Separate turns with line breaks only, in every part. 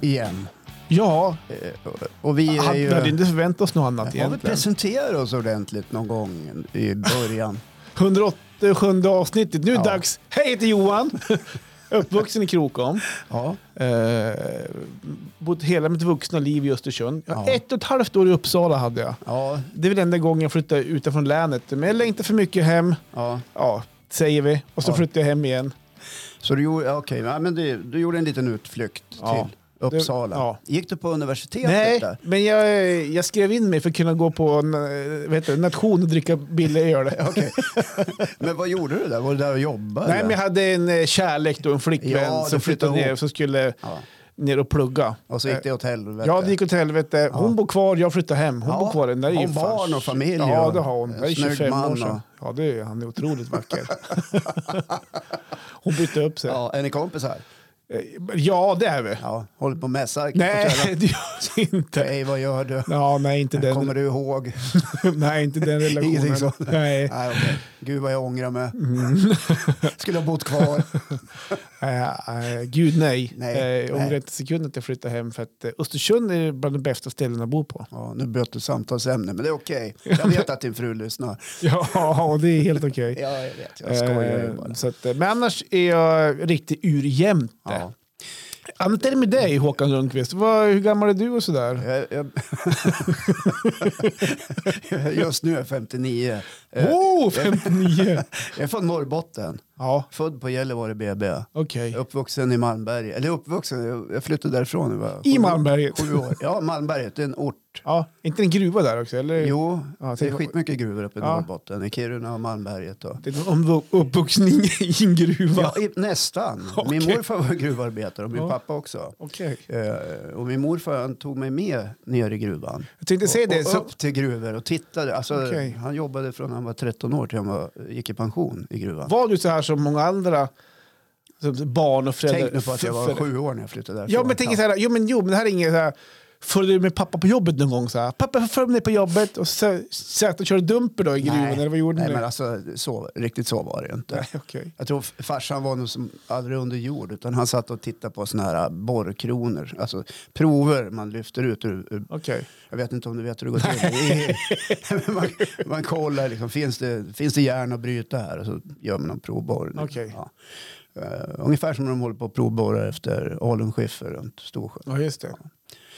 igen.
Ja,
Och vi är
han, vi hade
ju...
inte förväntat oss något annat
Har vi
egentligen.
presenterat oss ordentligt någon gång i början?
187 avsnittet. Nu är det
Ja.
dags. Hej, jag heter Johan. Uppvuxen i Krokom.
ja.
Eh, bott hela mitt vuxna liv i Östersund. Ja.
Ja.
Ett och ett halvt år i Uppsala hade jag.
Ja,
Det är väl enda gången jag flyttade utanför länet. Men jag längtade för mycket hem.
ja.
Ja, säger vi. Och så
Ja.
flyttade jag hem igen.
Så du gjorde, ja, okej, ja, men du, du gjorde en liten utflykt
Ja.
till Uppsala.
Det- ja.
Gick du på universitetet
Nej,
där?
men jag, jag skrev in mig för att kunna gå på en, eh, vad heter det, nation och dricka billig öl.
Okej. men vad gjorde du där? Var du där och jobbade?
Nej, men jag hade en eh, kärlek då, en flickvän
Ja,
som
du flyttade
flyttade ner
ihop.
som skulle
ja.
ner och plugga.
Och så gick det åt helvete?
Eh, Ja, det gick åt helvete. Hon
Ja.
bor kvar, jag flyttar hem. Hon
Ja,
bor kvar. Den där är ju
har barn
fan-
och familj
Ja,
och
det har hon. Det är
snygg
25 år
man
sedan.
och-
Ja, det är, han är otroligt vacker. hon bytte upp sig. Ja,
Ja, är ni kompisar?
det är vi.
Ja, håller på och mässar?
Nej, det gör vi inte.
Nej, vad gör du?
Ja, nej, inte den,
Kommer du ihåg?
nej, inte den
Ingenting
relationen.
sånt.
Nej.
Nej, okej. Gud vad jag ångrar mig.
Mm.
Skulle ha bott kvar.
Eh, eh, gud nej.
Nej,
Eh,
nej.
Ångrar inte sekunden att jag flyttade hem för att eh, Östersund är bland de bästa ställena att bo på.
Ja, nu bytte du samtalsämne, men det är okej. Jag vet att din fru lyssnar.
Ja, och det är helt okej.
Ja, jag vet. Jag skojar ju
Eh,
bara.
så att, eh, men annars är jag riktigt urjämte.
Ja.
Annat är det med dig Håkan Lundqvist. Vad, hur gammal är du och sådär?
Jag, jag... Just nu är jag 59. Eh,
Oh, 59!
Jag är från Norrbotten,
ja,
född på Gällivare BB.
okej.
Uppvuxen i Malmberget. Eller uppvuxen, jag- jag flyttade därifrån. när jag var
I
sju-
Malmberget.
Sju år. Ja, Malmberget, det är en ort.
Ja, inte en gruva där också? Eller?
Jo,
Ja,
det är
tänk-
skitmycket gruvor uppe i
Ja.
Norrbotten. I Kiruna och Malmberget. Och...
Det är en omvu- uppvuxning i en gruva?
Ja, i, nästan.
Okej.
Min morfar var gruvarbetare och min
Ja.
pappa också.
Okej.
Eh, och min morfar han tog mig med ner i gruvan.
Jag tänkte säga
och,
det.
och
Så,
upp till gruvor och tittade. Alltså,
Okej.
Han jobbade från han var 13 år till han var, gick i pension i gruvan.
var du så här som många andra som barn och föräldrar?
Tänk nu på att jag var
för-
sju år när jag flyttade därifrån.
Ja, men tänk så här, jo, men, jo, men det här är inget så här, följer du med pappa på jobbet någon gång? Så här, pappa, följ med ner på jobbet och så satt och körde dumper då i gruvan
Nej.
eller vad gjorde
Nej,
ni?
men alltså, så, riktigt så var det ju inte.
Nej, okej.
Jag tror farsan var nog som aldrig under jord utan han satt och tittade på såna här borrkronor, alltså prover man lyfter ut ur, ur
Okej.
jag vet inte om du vet hur det går till. Men man, man kollar, liksom, finns, det, finns det järn att bryta här? Och så gör man en provborrning.
Okej.
Ja. Eh, ungefär som när de håller på att provborra efter alunskiffer runt Storsjön.
Ja, just det.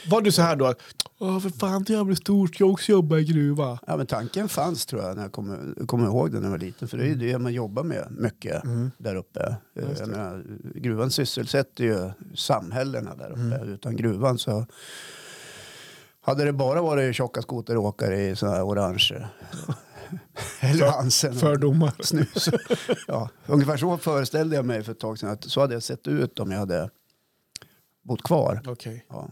Var du så här då? att, Åh, för fan, det jävla stort. Jag också jobbar i gruva.
Ja, men tanken fanns tror jag när jag kommer, kommer ihåg det när jag var liten. För det är ju det man jobbar med mycket där uppe. Eh,
Mm. Just
Jag
det.
menar, gruvan sysselsätter ju samhällena där uppe.
Mm.
Utan gruvan så hade det bara varit tjocka skoteråkare i sådana här orange. Eller Hansen.
Fördomar.
snus. ja, ungefär så föreställde jag mig för ett tag sedan. Att så hade jag sett ut om jag hade bott kvar.
Okej.
Ja.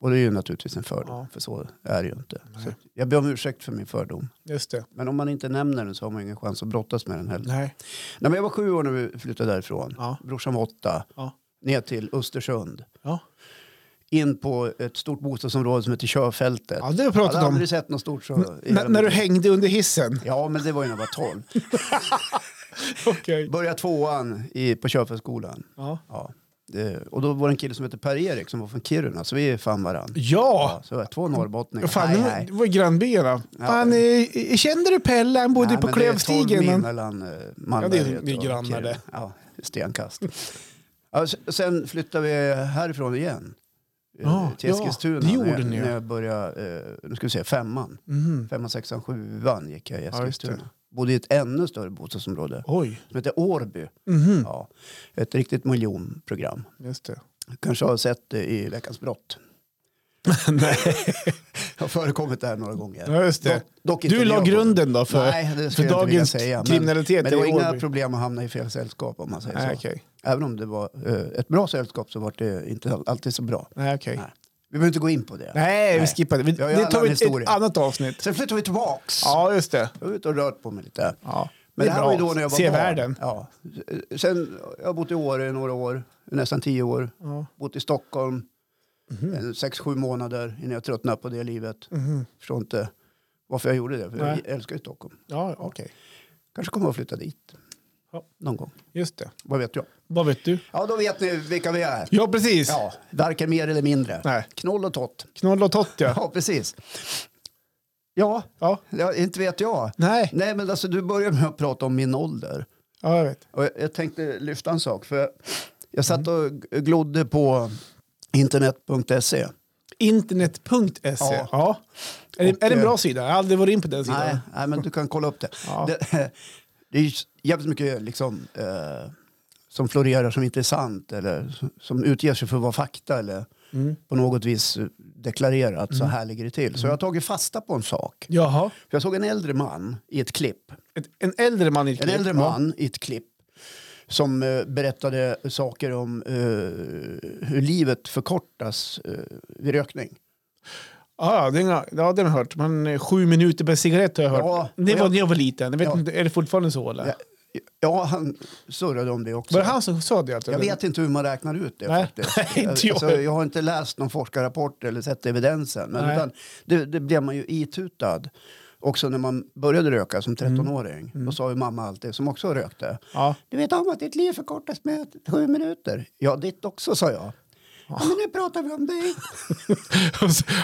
Och det är ju naturligtvis en fördom,
Ja.
för så är det ju inte.
Nej.
Så jag ber om ursäkt för min fördom.
Just det.
Men om man inte nämner den så har man ingen chans att brottas med den heller. Nej.
Nej.
men jag var sju år när vi flyttade därifrån.
Ja.
Brorsan var åtta.
Ja.
Ner till Östersund.
Ja.
In på ett stort bostadsområde som heter Körfältet.
Ja, det har vi
jag hade
pratat om.
aldrig sett något stort så. i hela
N- när du
mitt liv.
hängde under hissen.
Ja, men det var ju när jag var tolv.
Okej.
Började tvåan i, på Körfältsskolan.
Ja.
Ja. Det, och då var det en kille som hette Per-Erik som var från Kiruna, så vi är fan varann. Ja,
Ja.
så var det två norrbottningar.
ja. Fan,
nej,
det var-
nej.
det var ju grannbyarna.
Ja.
Fan, eh, Kände du Pelle? Han bodde
nej,
på
men det är tolv
Klövstigen.
mil
Han-
mellan eh,
Ja, det är-
Malmberget
det är
och
grannar
Kiruna.
det.
Ja, stenkast. ja, s- sen flyttade vi härifrån igen. eh,
Ja,
till
Ah, ja,
Eskilstuna.
det gjorde
när, jag-
ni ju.
När jag började, eh, nu ska vi se, femman.
Mhm.
Femman, sexan, sjuan gick jag i
Ja, just det.
Eskilstuna. Bodde i ett ännu större bostadsområde
Oj.
som heter Årby.
Mhm.
Ja, ett riktigt miljonprogram.
Just det.
kanske har sett det i Veckans brott. Jag har förekommit det här några gånger.
Ja, just det.
Dock, dock inte
Du la
jag.
grunden då för,
Nej, det
för
skulle jag inte vilja
dagens
säga. Men,
kriminalitet
men det var
i
inga
Årby.
problem att hamna i fel sällskap om man säger
Nej,
så.
okej.
Även om det var eh, ett bra sällskap så var det inte all- alltid så bra.
Nej, okej.
Nej. Vi behöver inte gå in på det.
Nej, vi
Nej.
skippar det. Vi,
Vi har ju
det
alla
tar vi
en
ett, ett
historia.
annat avsnitt.
Sen flyttade vi tillbaks.
Ja, just det.
Jag var ute och rört på mig lite.
Ja.
Men det, här var ju då när jag var
Se
barn.
världen.
Ja. Sen, jag har bott i Åre i några år, nästan tio år.
Ja.
Bott i Stockholm eh, sex, sju månader innan jag tröttnade på det livet.
Mhm.
förstår inte varför jag gjorde det. För
Nej.
jag älskar ju Stockholm.
Ja, okej.
Kanske kommer jag att flytta dit.
Ja.
Någon gång.
Just det.
Vad vet jag?
Vad vet du?
Ja, då vet ni vilka vi är.
Ja, precis.
Ja, varken mer eller mindre.
Nej.
Knoll och tott.
Knoll och tott, ja.
Ja, precis. Ja,
ja.
ja, inte vet jag.
Nej,
Nej, men alltså du börjar med att prata om min ålder.
ja, jag vet.
Och jag, jag tänkte lyfta en sak. För jag, jag
Mm.
satt och glodde på internet.se.
Internet.se.
Ja.
E. Ja. Är, det, är det en
eh,
bra sida? Jag har aldrig varit in på den sidan.
Nej, nej, men du kan kolla upp det.
Ja.
Det, det är ju jävligt mycket liksom, eh, som florerar som inte är sant eller som utger sig för att vara fakta eller
Mm.
på något vis deklarerar att så här ligger det till. Så jag har tagit fasta på en sak.
Jaha.
Jag såg en äldre man i ett klipp.
Ett, en äldre man i ett
En
klipp,
äldre
ja.
man i ett klipp som eh, berättade saker om eh, hur livet förkortas eh, vid rökning.
Ja, den har, ja, den har jag hört. Men eh, sju minuter per cigarett har jag hört.
Ja,
det
och
var
jag-
när jag var liten. Jag vet
Ja.
inte, är det fortfarande så? Eller?
Ja, Ja, han surrade om det också.
Var det han som sa det? Alltså,
Jag
eller?
vet inte hur man räknar ut det.
Nej,
faktiskt.
nej, inte jag.
Alltså, jag har inte läst någon forskarrapport eller sett evidensen. Men
Nej.
utan, det, det blev man ju itutad. Också när man började röka som 13-åring. Då sa ju mamma alltid, som också rökte.
Mm. Ja.
Du vet om att ditt liv förkortas med sju minuter? Ja, ditt också, sa jag. Ja, men nu pratar vi om dig.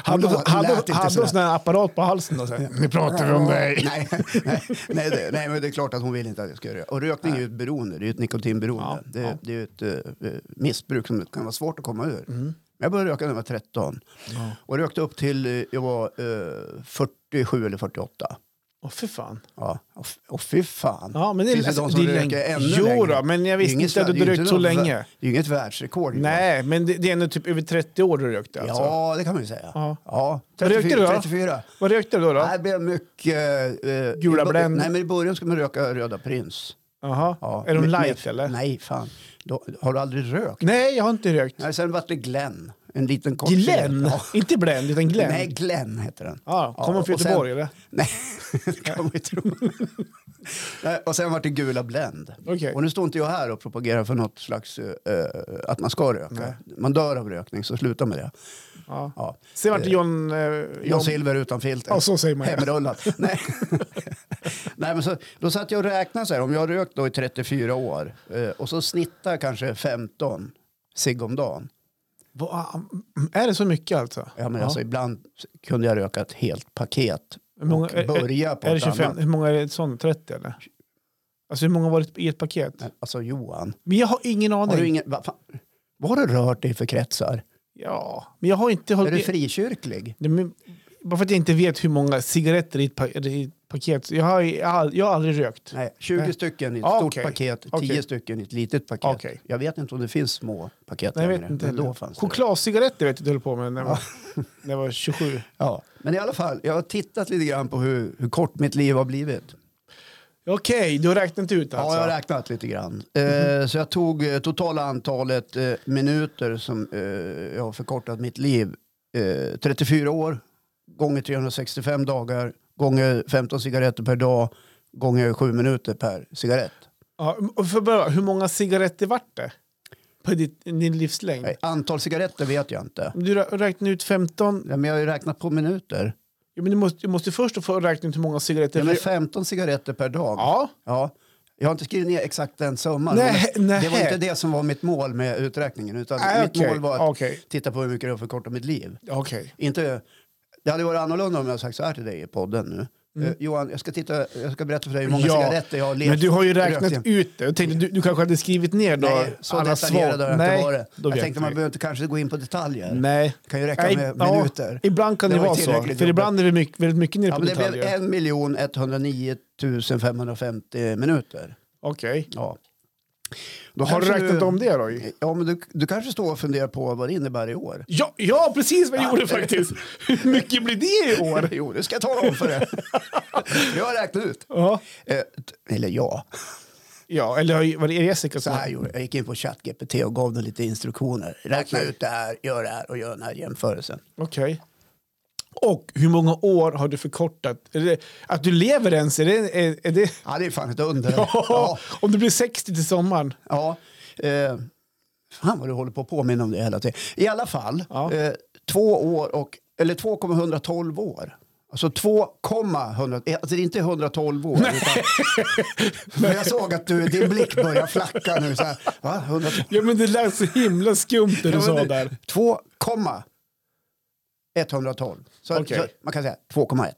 hade
Hon lät
hade,
inte
hade
sådär.
hon sån här apparat på halsen? Och så här, nu pratar vi om dig.
Nej, nej, nej, det, nej, men det är klart att hon vill inte att jag ska röka. Och rökning är ju ett beroende, det är ju ett nikotinberoende. det,
Ja, ja.
det är ju ett eh, missbruk som kan vara svårt att komma ur. Jag började röka när jag var 13
Mm. Ja.
och rökte upp till eh, jag var eh, 47 eller 48.
Åh, för fan.
Ja, och, f- och fy fan.
Ja, men det är-
Finns
alltså,
de som
det är
röker
länge.
ännu
Jo då,
längre.
men jag
Det är
visste
inget
inte att du
vär- det är ju
rökt
inte
så
något vä-
länge.
Det är ju inget världsrekord.
Nej, men det, det är ändå typ över 30 år du rökte alltså.
Ja, det kan man ju säga.
Ja.
Ja,
Vad rökte du
34.
då?
34.
Vad rökte du då? då?
Nej, det blev mycket... Eh,
Gula
i bör-
Blend.
Nej, men i början skulle man röka Röda Prins.
Jaha.
Ja.
Är de
Med-
light
med-
eller? Nej.
Nej, fan. Då, har du aldrig rökt?
jag har inte rökt.
Nej, sen vart det Glenn. En liten kort
Glenn?
cigarett.
Inte Blend, utan
Ja.
Glenn?
Nej, Glenn heter den.
Ja,
Ja,
kommer från
och sen-
Göteborg eller?
Nej, det kan man ju tro. Nej, och sen vart det Gula Blend.
Okej.
Och nu står inte jag här och propagerar för något slags eh, att man ska röka.
Nej.
Man dör av rökning, så sluta med det.
Ja.
Ja.
Sen vart det
Eh,
John... Eh,
John Silver utan filter.
Ja, så säger man ju.
Hemrullad. Nej. Nej, men så, då satt jag och räknade så här. Om jag har rökt då i 34 år eh, och så snittar kanske 15 cigg om dagen.
Va- ah, mm, Är det så mycket alltså?
Ja, men Alltså, ibland kunde jag röka ett helt paket
Hur många-
och börja på
Är det
ett
25?
annat.
Hur många är det sånt? 30 eller? Alltså hur många var det i ett paket?
Alltså Johan,
Men jag har ingen aning.
har du ingen, vad, fan, vad har du rört dig för kretsar?
Ja, men jag har inte
Är
hållit...
du frikyrklig?
Nej, men bara för att jag inte vet hur många cigaretter i ett, pa- i ett paket. Jag har, ju all- jag har aldrig rökt.
Nej, 20
Nej.
stycken i ett
Ah,
stort
okej.
paket, 10
Okej.
stycken i ett litet paket.
Okej.
Jag vet inte om det finns små paket
Nej, jag
längre,
vet inte.
men då
heller.
fanns det.
Chokladcigaretter vet jag att jag höll på med när jag var, när jag var 27.
Ja, men i alla fall, jag har tittat lite grann på hur, hur kort mitt liv har blivit.
Okej, du har räknat ut
Ja,
alltså?
jag har räknat lite grann. Eh, så jag tog eh, totala antalet eh, minuter som eh, jag har förkortat mitt liv. Eh, 34 år, gånger 365 dagar, gånger 15 cigaretter per dag, gånger 7 minuter per cigarett.
Ja, och för att börja, hur många cigaretter vart det? På ditt, din livslängd?
Nej, antal cigaretter vet jag inte.
Du rä- räknar ut 15.
Ja, men jag har ju räknat på minuter.
Ja, men du, måste, du måste först få räkna ut hur många cigaretter...
Ja, men 15 cigaretter per dag.
ja.
Ja. Jag har inte skrivit ner exakt den summan.
Nej,
men det
nej.
var inte det som var mitt mål med uträkningen. Utan
Ah,
Alltså, mitt
okej,
mål var att
okej.
titta på hur mycket det har förkortat mitt liv.
Okej.
Inte, det hade varit annorlunda om jag hade sagt så här till dig i podden nu. Eh, Johan, jag ska, titta, jag ska berätta för dig hur många
Mm. Ja,
cigaretter jag har levt.
Men du har ju räknat
rökt.
ut det. Jag tänkte, du, du kanske hade skrivit ner då
Nej, så
alla
detaljerad har
svar.
jag inte varit.
då
Jag
vet
tänkte man
vi.
behöver inte kanske gå in på detaljer.
Nej.
Det kan ju räcka med
ja,
minuter.
Ibland kan
Det
det,
var ju
vara så. För
tillräckligt jobbigt.
ibland är vi mycket, väldigt mycket nere
Ja,
på
men det blev
detaljer.
1 109 550 minuter.
Okej.
Ja. Då
Har du
kanske
räknat om det då?
Ja, men du, du kanske står och funderar på vad det innebär i år.
Ja, ja precis vad jag gjorde faktiskt. Hur mycket blir det i år?
Jo, det ska jag tala om för dig. jag har räknat ut.
Ja,
Eh, t- eller ja,
ja eller har- var det Jessica som...
Nej, jo, jag gick in på ChatGPT och gav den lite instruktioner. Räkna ut det här, gör det här och gör den här jämförelsen.
Okej. Och hur många år har du förkortat? Är det, att du lever ens, är det... Är, är det
Ja, det är fan ett under.
ja.
Ja,
Om du blir 60 till sommaren?
ja. Eh, fan vad du håller på att påminna om det hela tiden. I alla fall,
Ja.
eh, två år och, eller 2,112 år. Alltså 2,100, alltså det är inte 112 år. Utan, men jag såg att du, din blick börjar flacka nu. Så här, va? 112?
Ja, men det lät så himla skumt det du
Ja,
sa
men
där.
2,112. Så,
Okej.
så man kan säga 2,1.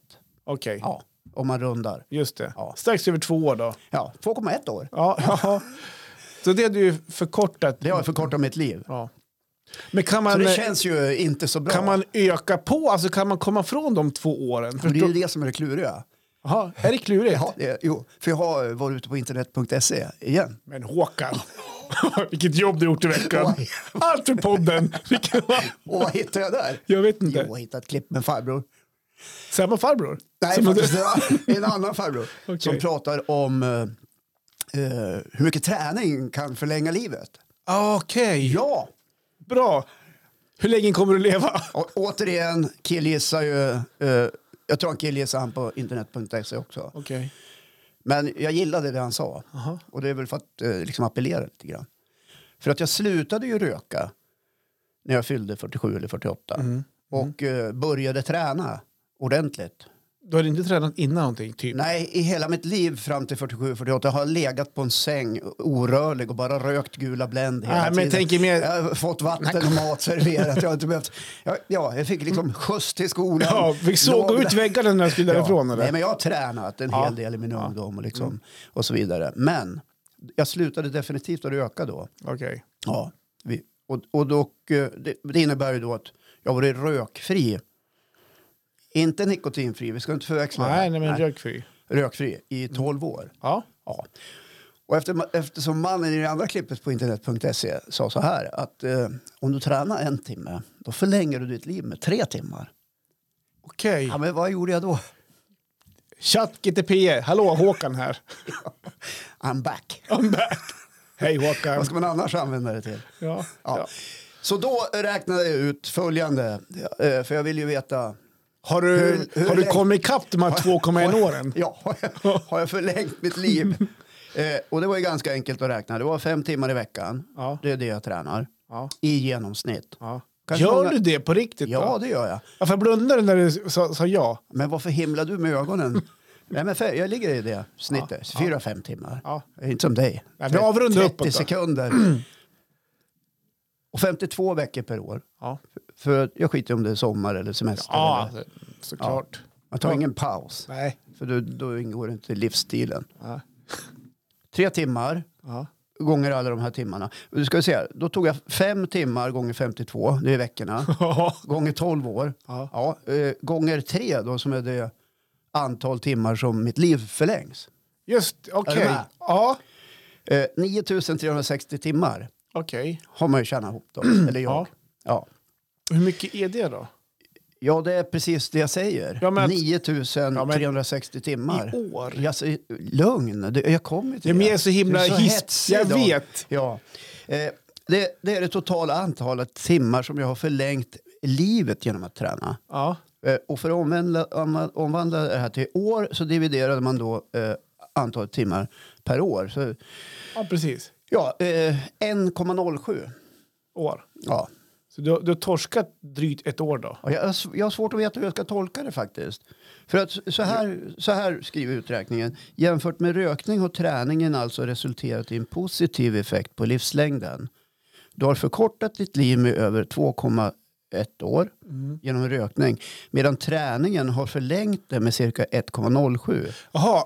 Okej,
Ja, om man rundar.
just det.
Ja.
Strax över två år då.
Ja, 2,1 år.
Ja, ja. Så det har du ju förkortat.
Det har förkortat mitt liv.
Ja. Men kan
Så
man,
det känns ju inte så bra.
kan man öka på? Alltså kan man komma från de två åren?
Men det är
Förstå?
ju det som är det kluriga.
Jaha, är det klurigt?
Ja, det, jo, för jag har eh, varit ute på internet.se igen.
Men Håkan, vilket jobb du gjort i veckan.
Oj.
Allt för podden. Vilken...
Och vad hittade jag där?
Jag vet
Jo,
inte.
jag hittade ett klipp med farbror.
Samma farbror?
Nej,
Som-
faktiskt, det var en annan farbror
Okej.
som pratar om eh, eh, hur mycket träning kan förlänga livet.
Ah, Okej,
Ja,
bra. Hur länge kommer du leva?
och, återigen killgissar ju. eh, jag tror han killgissar han på internet.se också.
Okej.
Men jag gillade det han sa.
Aha.
Och det är väl för att eh, liksom appellera lite grann. För att jag slutade ju röka när jag fyllde 47 eller 48.
Mm.
Och eh, började träna ordentligt.
Du hade inte tränat innan någonting? Typ.
Nej, i hela mitt liv fram till 47-48 har jag legat på en säng orörlig och bara rökt gula Blend hela
Nej, men
tiden.
jag tänker mer-
Jag har fått vatten och mat serverat. Jag har inte behövt... jag, ja, jag fick liksom skjuts till skolan.
Mm. Ja, vi såg
Låg-
ut väggarna när jag skulle därifrån. Eller?
Nej, men jag har tränat en
Ja. Mm.
hel del i min ungdom och, liksom, och så vidare. Men jag slutade definitivt att röka då.
Okej.
Ja. Vi, och, och dock, eh, det, det innebär ju då att jag var rökfri. Inte nikotinfri, vi ska inte förväxla. det här.
Nej, nej, men Mm. rökfri.
Rökfri i 12 år.
Ja.
Ja. Och efter, eftersom mannen i det andra klippet på internet.se sa så här att eh, om du tränar en timme då förlänger du ditt liv med tre timmar.
Okej.
Ja, men vad gjorde jag då?
ChatGTP, hallå Håkan här.
I'm back.
I'm back. Hej Håkan.
Vad ska man annars använda det till?
Ja.
Ja.
Ja.
Så då räknade jag ut följande, eh, för jag vill ju veta.
Har du,
Hur- hur
har du
länge-
kommit ikapp de här 2,1 åren?
Ja, har jag, har jag förlängt mitt liv? Eh, och det var ju ganska enkelt att räkna. Det var fem timmar i veckan.
Ja.
Det är det jag tränar
Ja.
i genomsnitt.
ja.
Kanske
Gör
många-
du det på riktigt?
Ja,
då?
det gör jag.
Varför jag blundade när du sa, sa ja?
Men varför himlar du med ögonen? Nej, men fe- jag ligger i det snittet, fyra, fem timmar.
Ja.
Jag är Inte som dig.
Nej, vi avrundar
30
uppåt då.
sekunder. Och 52 veckor per år.
Ja,
För jag skiter i om det är sommar eller semester.
ja
Eller.
såklart.
Man tar ingen paus.
Nej.
För då, då ingår det inte i livsstilen.
Ja.
Tre timmar
Ja.
gånger alla de här timmarna. Och Du ska se, då tog jag fem timmar gånger 52, det är veckorna. gånger 12 år.
Ja.
Ja, eh, gånger tre då som är det antal timmar som mitt liv förlängs.
Just okej.
Är du med?
Ja,
Eh, 9360 timmar
okej.
har man ju tjänat ihop då, eller
Ja.
jag. Ja.
Hur mycket är det då?
ja, det är precis det jag säger.
Ja, men att-
9360 timmar.
I år?
Jag säger, eh, lugn, det- jag kommer till
Ja, men jag är
det.
så himla
Du är
hiss-
hetsig
jag
idag.
vet.
Ja. Eh, det, det är det totala antalet timmar som jag har förlängt livet genom att träna.
Ja.
Eh, och för att omvandla, om- omvandla det här till år så dividerade man då eh, antalet timmar per år. Så,
ja, precis.
ja, eh, 1,07.
År.
Ja.
Så du, du har torskat drygt ett år då?
Och jag, har s- jag har svårt att veta hur jag ska tolka det faktiskt. För att så här, så här skriver uträkningen. Jämfört med rökning har träningen alltså resulterat i en positiv effekt på livslängden. Du har förkortat ditt liv med över 2,1 år
Mm.
genom rökning. Medan träningen har förlängt det med cirka 1,07.
Jaha.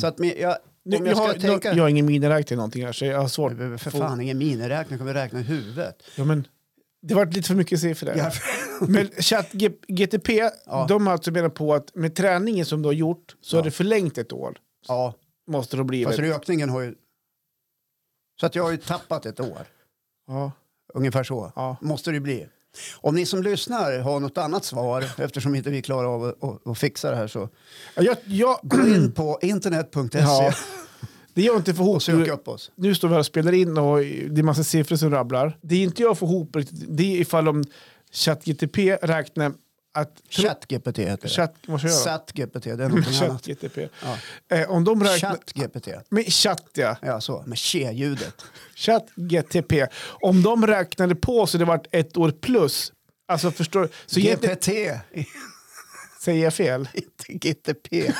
Så att med, jag,
Mm.
om
Nu, jag,
jag ska
har,
tänka...
jag, jag har ingen miniräkning någonting här så jag har svårt.
jag behöver för fan ingen miniräkning, jag kommer räkna i huvudet.
Ja, men, det var lite för mycket siffror där.
Ja.
Men ChatGTP,
Ja.
de har alltså menat på att med träningen som du har gjort så har det förlängt ett år.
Ja,
Måste det bli.
fast
väl?
rökningen har ju... Så att jag har ju tappat ett år.
Ja,
Ungefär så
Ja.
måste det bli. Om ni som lyssnar har något annat svar, eftersom inte vi klarar av att- att, att fixa det här, så
Ja, jag, jag,
gå in på internet.se
Ja. det är jag inte för
och
ihop.
sök
Nu,
upp oss.
nu står vi här och spelar in och det är massa siffror som rabblar. Det är inte jag får ihop riktigt. Det är ifall om ChatGTP räknar att...
ChatGPT heter det.
Chat, vad ska jag göra?
SatGPT, det är någonting annat.
ChatGTP.
Ja.
Eh, om de räknar...
ChatGPT,
Med chatt, ja.
ja så, med tje-ljudet.
ChatGTP. Om de räknade på så det vart ett år plus. Alltså förstår så egentligen-
GPT!
Säger jag fel?
Inte Gitte P.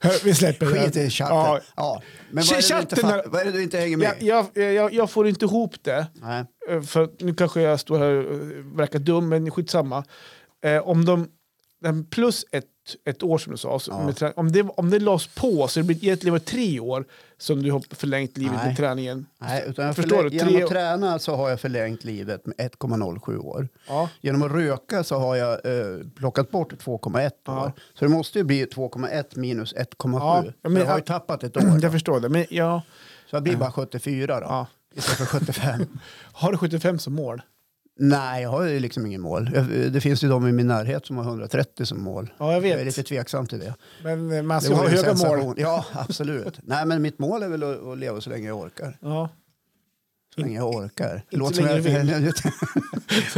Hör, Vi släpper det.
Skit i chatten.
Ja.
Ja. Men vad är, det du inte
Chatten
fatt-
är-
vad är det du inte hänger med
Jag, jag, jag, jag får inte ihop det.
Nej.
Eh, För nu kanske jag står här och eh, verkar dum, men skitsamma. Eh, om de, den plus ett, ett år som du sa, så
Ja.
med trä- om, det, om det lades på så det blir egentligen var det tre år som du har förlängt livet
Nej.
med träningen.
Nej, utan jag
Förstår
förlä-
du?
Genom
Tre-
att träna så har jag förlängt livet med 1,07 år.
Ja.
Genom att röka så har jag eh, plockat bort 2,1
Ja.
år. Så det måste ju bli 2,1 minus 1,7.
Ja,
För
men-
jag har ju
ja.
tappat ett år.
Jag förstår det, men jag
Så jag blir bara 74 då.
Ja.
Istället för 75.
har du 75 som mål.
Nej, jag har ju liksom ingen mål. Jag- Det finns ju de i min närhet som har 130 som mål.
Ja, jag
Jag är
vet.
lite tveksam till det.
Men eh, man
Det
ska ha
vore en
höga
sensation.
mål.
Ja, absolut. Nej, men mitt mål är väl att, att leva så länge jag orkar.
Ja.
Så länge jag orkar.
så
som
länge
jag-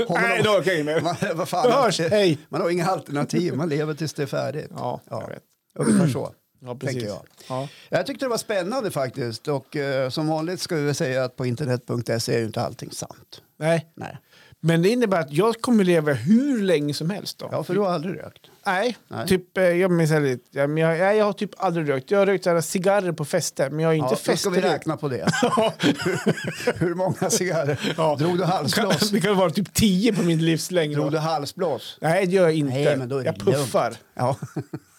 Håller de-
Nej, det är okej. men-
Man, vad
Vi
fan,
hörs, hej!
Man har inga alternativ, man lever tills det är färdigt.
Ja,
Ja.
jag vet.
Ungefär så,
Ja, precis.
tänker jag.
Ja.
Jag tyckte det var spännande faktiskt. Och eh, som vanligt ska vi väl säga att på internet.se är ju inte allting sant.
Nej,
Nej.
men det innebär att jag kommer leva hur länge som helst. Då.
Ja, för du har aldrig rökt.
Nej,
Nej.
Typ, eh, jag minns aldrig. Ja, men jag, nej, jag har typ aldrig rökt. Jag har rökt så här cigarrer på fester, men jag har ju inte
Ja, då ska vi
feströkt.
räkna på det. Hur många cigarrer?
Ja.
Drog du halsblås?
Det kan vara typ tio på min livslängd.
Drog du halsblås?
Nej, det gör jag inte.
Nej, men då är det
jag puffar.
Ja.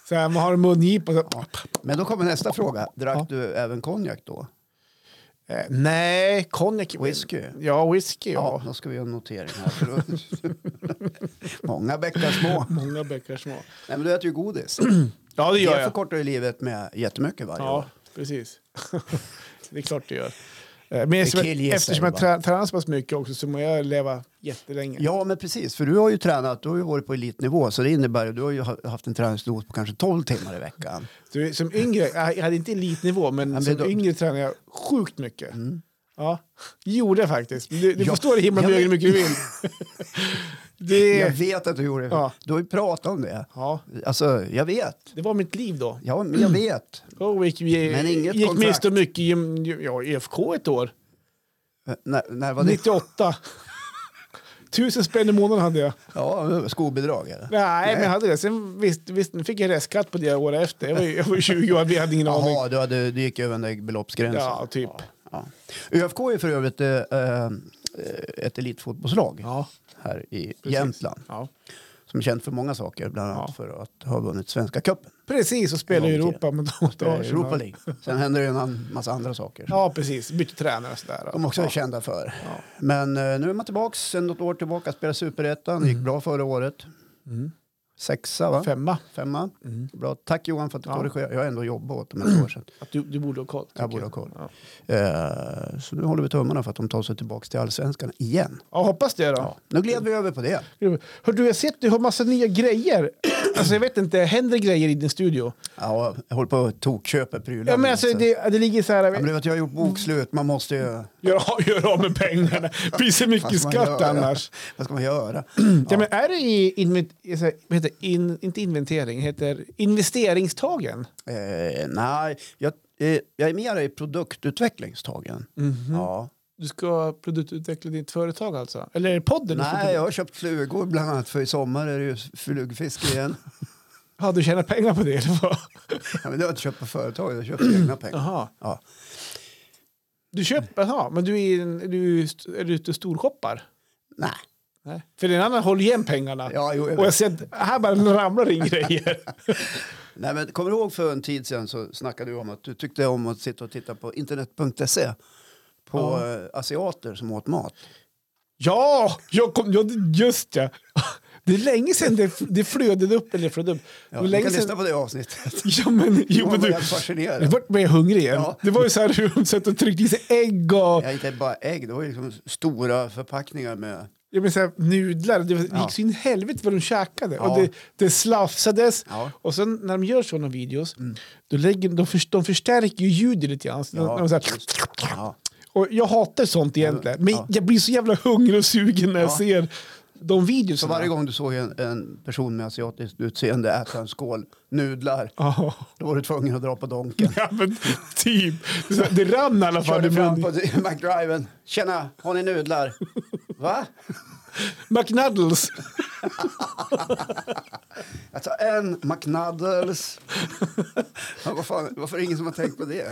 Så här, man har en mungipa. och Så,
Men då kommer nästa fråga. Drack
Ja.
du även konjak då?
Eh, Nej, konjak.
Whisky?
Ja, whisky. Ja.
Ja, då ska vi göra en notering här. för då- Många bäckar små.
Många bäckar små.
Nej, men du äter ju godis.
Ja, det
Det
gör jag.
förkortar ju livet med jättemycket varje
Ja,
år.
precis. det är klart det gör. Eh, Men eftersom,
killgissar
eftersom
ju
jag trä- tränar så pass mycket också så må jag leva jättelänge.
Ja, men precis. För du har ju tränat, du har ju varit på elitnivå. Så det innebär ju att du har ju ha- haft en träningsdos på kanske 12 timmar i veckan.
Du, som yngre, jag hade inte elitnivå, men Mm.
men
som
då-
yngre tränade jag sjukt mycket. Ja, gjorde jag faktiskt. Du, du
Ja,
får stå i himlen
jag
med
vet.
hur mycket du vill. det,
Jag vet att du gjorde det.
Ja.
Du har ju pratat om det.
ja,
Alltså, jag vet.
det var mitt liv då.
Ja, men jag vet.
Jag gick,
Men inget
gick
kontrakt.
miste om mycket i gym- ja, IFK ett år,
Eh, När, när var det?
98. Tusen spänn i månaden hade jag.
Ja, skobidrag eller?
Nej, men jag hade det. Sen visst, visst, nu fick jag restskatt på det året efter. Jag var, ju- jag var 20 år, vi hade ingen aning.
Jaha, du, hade, du gick över den där beloppsgränsen.
Ja, typ.
Ja. ÖFK är för övrigt eh, eh, ett elitfotbollslag
Ja,
här i
precis.
Jämtland.
Ja.
Som är känt för många saker, bland annat
Ja.
för att ha vunnit Svenska cupen.
Precis, och spelade i
Lång tid.
Europa med dem.
Det är Eh, Europa League. Sen händer det en an- massa andra saker.
Ja, precis. Bytte tränare och sådär.
De också är
ja.
kända för.
Ja.
Men eh, nu är man tillbaka sen något år tillbaka. Spelar superettan. Gick bra förra året.
Mm.
Sexa va?
Femma.
Femma.
Mm.
Bra. Tack Johan för att du
Ja.
korrigerade. Jag har ändå jobbat åt dem ett år sedan.
Att du, du borde ha koll. tycker
Jag borde ha koll.
Ja.
Eh, så nu håller vi tummarna för att de tar sig tillbaka till allsvenskan igen.
Ja, hoppas det då.
Ja. Nu gled vi
Mm.
över på det.
Hör du, jag har sett du har massa nya grejer. alltså, jag vet inte, händer grejer i din studio?
Ja, jag håller på att tokköpa prylar.
Ja, men
nu,
alltså,
så-
det, det ligger så här...
Ja, men du vet, jag har gjort bokslut. Man måste ju...
Gör, av- gör av med pengarna. Det blir så
Vad
mycket
ska man
skatt
göra?
annars.
Vad ska man göra?
Ja. men är det i invent, i så här- vad heter, det? in, inte inventering, heter investeringstagen?
Eh, nej, jag, eh, jag är mer i produktutvecklingstagen.
Mhm.
Ja.
Du ska produktutveckla ditt företag alltså? Eller är det podden? du ska
Nej, jag har köpt flugor bland annat för i sommar är det ju flugfiske igen.
Ja, du tjänar pengar på det? Eller vad?
ja, men det har jag inte köpt på företaget, jag har köpt egna pengar.
Jaha.
Ja.
Du köper, jaha, men du är, en- är du, st- är du ute och storshoppar?
Nej,
Nej. För den andra håller igen pengarna.
ja, jo, jag
Och
vet.
jag ser att här bara ramlar in grejer.
Nej, men kommer du ihåg för en tid sedan så snackade du om att du tyckte om att sitta och titta på internet.se på
Ja.
eh, asiater som åt mat.
ja, jag kom, ja, just ja. Det är länge sedan det, det flödade upp. Eller flödade upp.
Ja,
det var
du
länge
kan lyssna
sedan,
på det avsnittet.
ja, men, jo,
Jag
men
var
du,
helt fascinerad.
jag vart mer hungrig igen.
Ja.
Det var ju så här hur de satt och tryckte i sig ägg och
Ja, inte bara ägg, det var ju liksom stora förpackningar med...
jag menar, så här, nudlar. Det
Ja.
gick så in i helvete vad de käkade.
Ja.
Och det, det slafsades.
Ja. Mm.
Och sen när de gör sådana videos, då lägger, de, för, de förstärker ju ljudet lite grann. Så
Ja,
de, de, så här,
Ja.
och jag hatar sånt egentligen. Men
Ja.
jag blir så jävla hungrig och sugen när jag
Ja.
ser de videorna.
Så varje gång du såg en, en person med asiatiskt utseende äta en skål nudlar,
Ja,
då var du tvungen att dra på donken.
ja, men typ. Så här, Det rann i alla fall. i
Körde fram
munnen.
på McDriven. Tjena, har ni nudlar? Va?
McNuddles.
Jag tar en McNuddles. Ja, vad fan, varför är det ingen som har tänkt på det?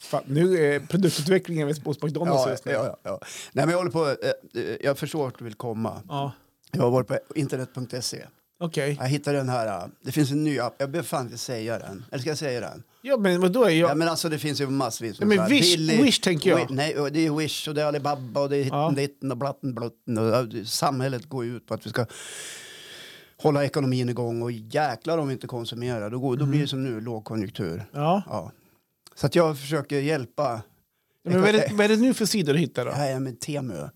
Fan, nu är produktutvecklingen vid hos McDonalds
Ja,
just nu.
ja, ja. Nej, men jag håller på. eh, eh, Jag förstår vart du vill komma.
Ja,
Jag har varit på internet.se.
Okej.
E. Jag hittade den här. eh, Det finns en ny app. Jag behöver fan inte säga den. Eller ska jag säga den?
Ja, men vadå? Är
Ja,
jag...
men alltså det finns ju massvis.
Ja, men
så här
Wish- Wish tänker jag.
Wi- nej, och det är Wish och det är Alibaba och det är hitten
Ja.
ditten och blatten blutten. Och, ja, det- samhället går ju ut på att vi ska hålla ekonomin igång och jäklar om vi inte konsumerar. Då, går, då
Mm.
blir det som nu, lågkonjunktur.
Ja.
Ja. Så att jag försöker hjälpa.
Men vad, är det, vad är det nu för sidor du hittar då?
Här är med Temu.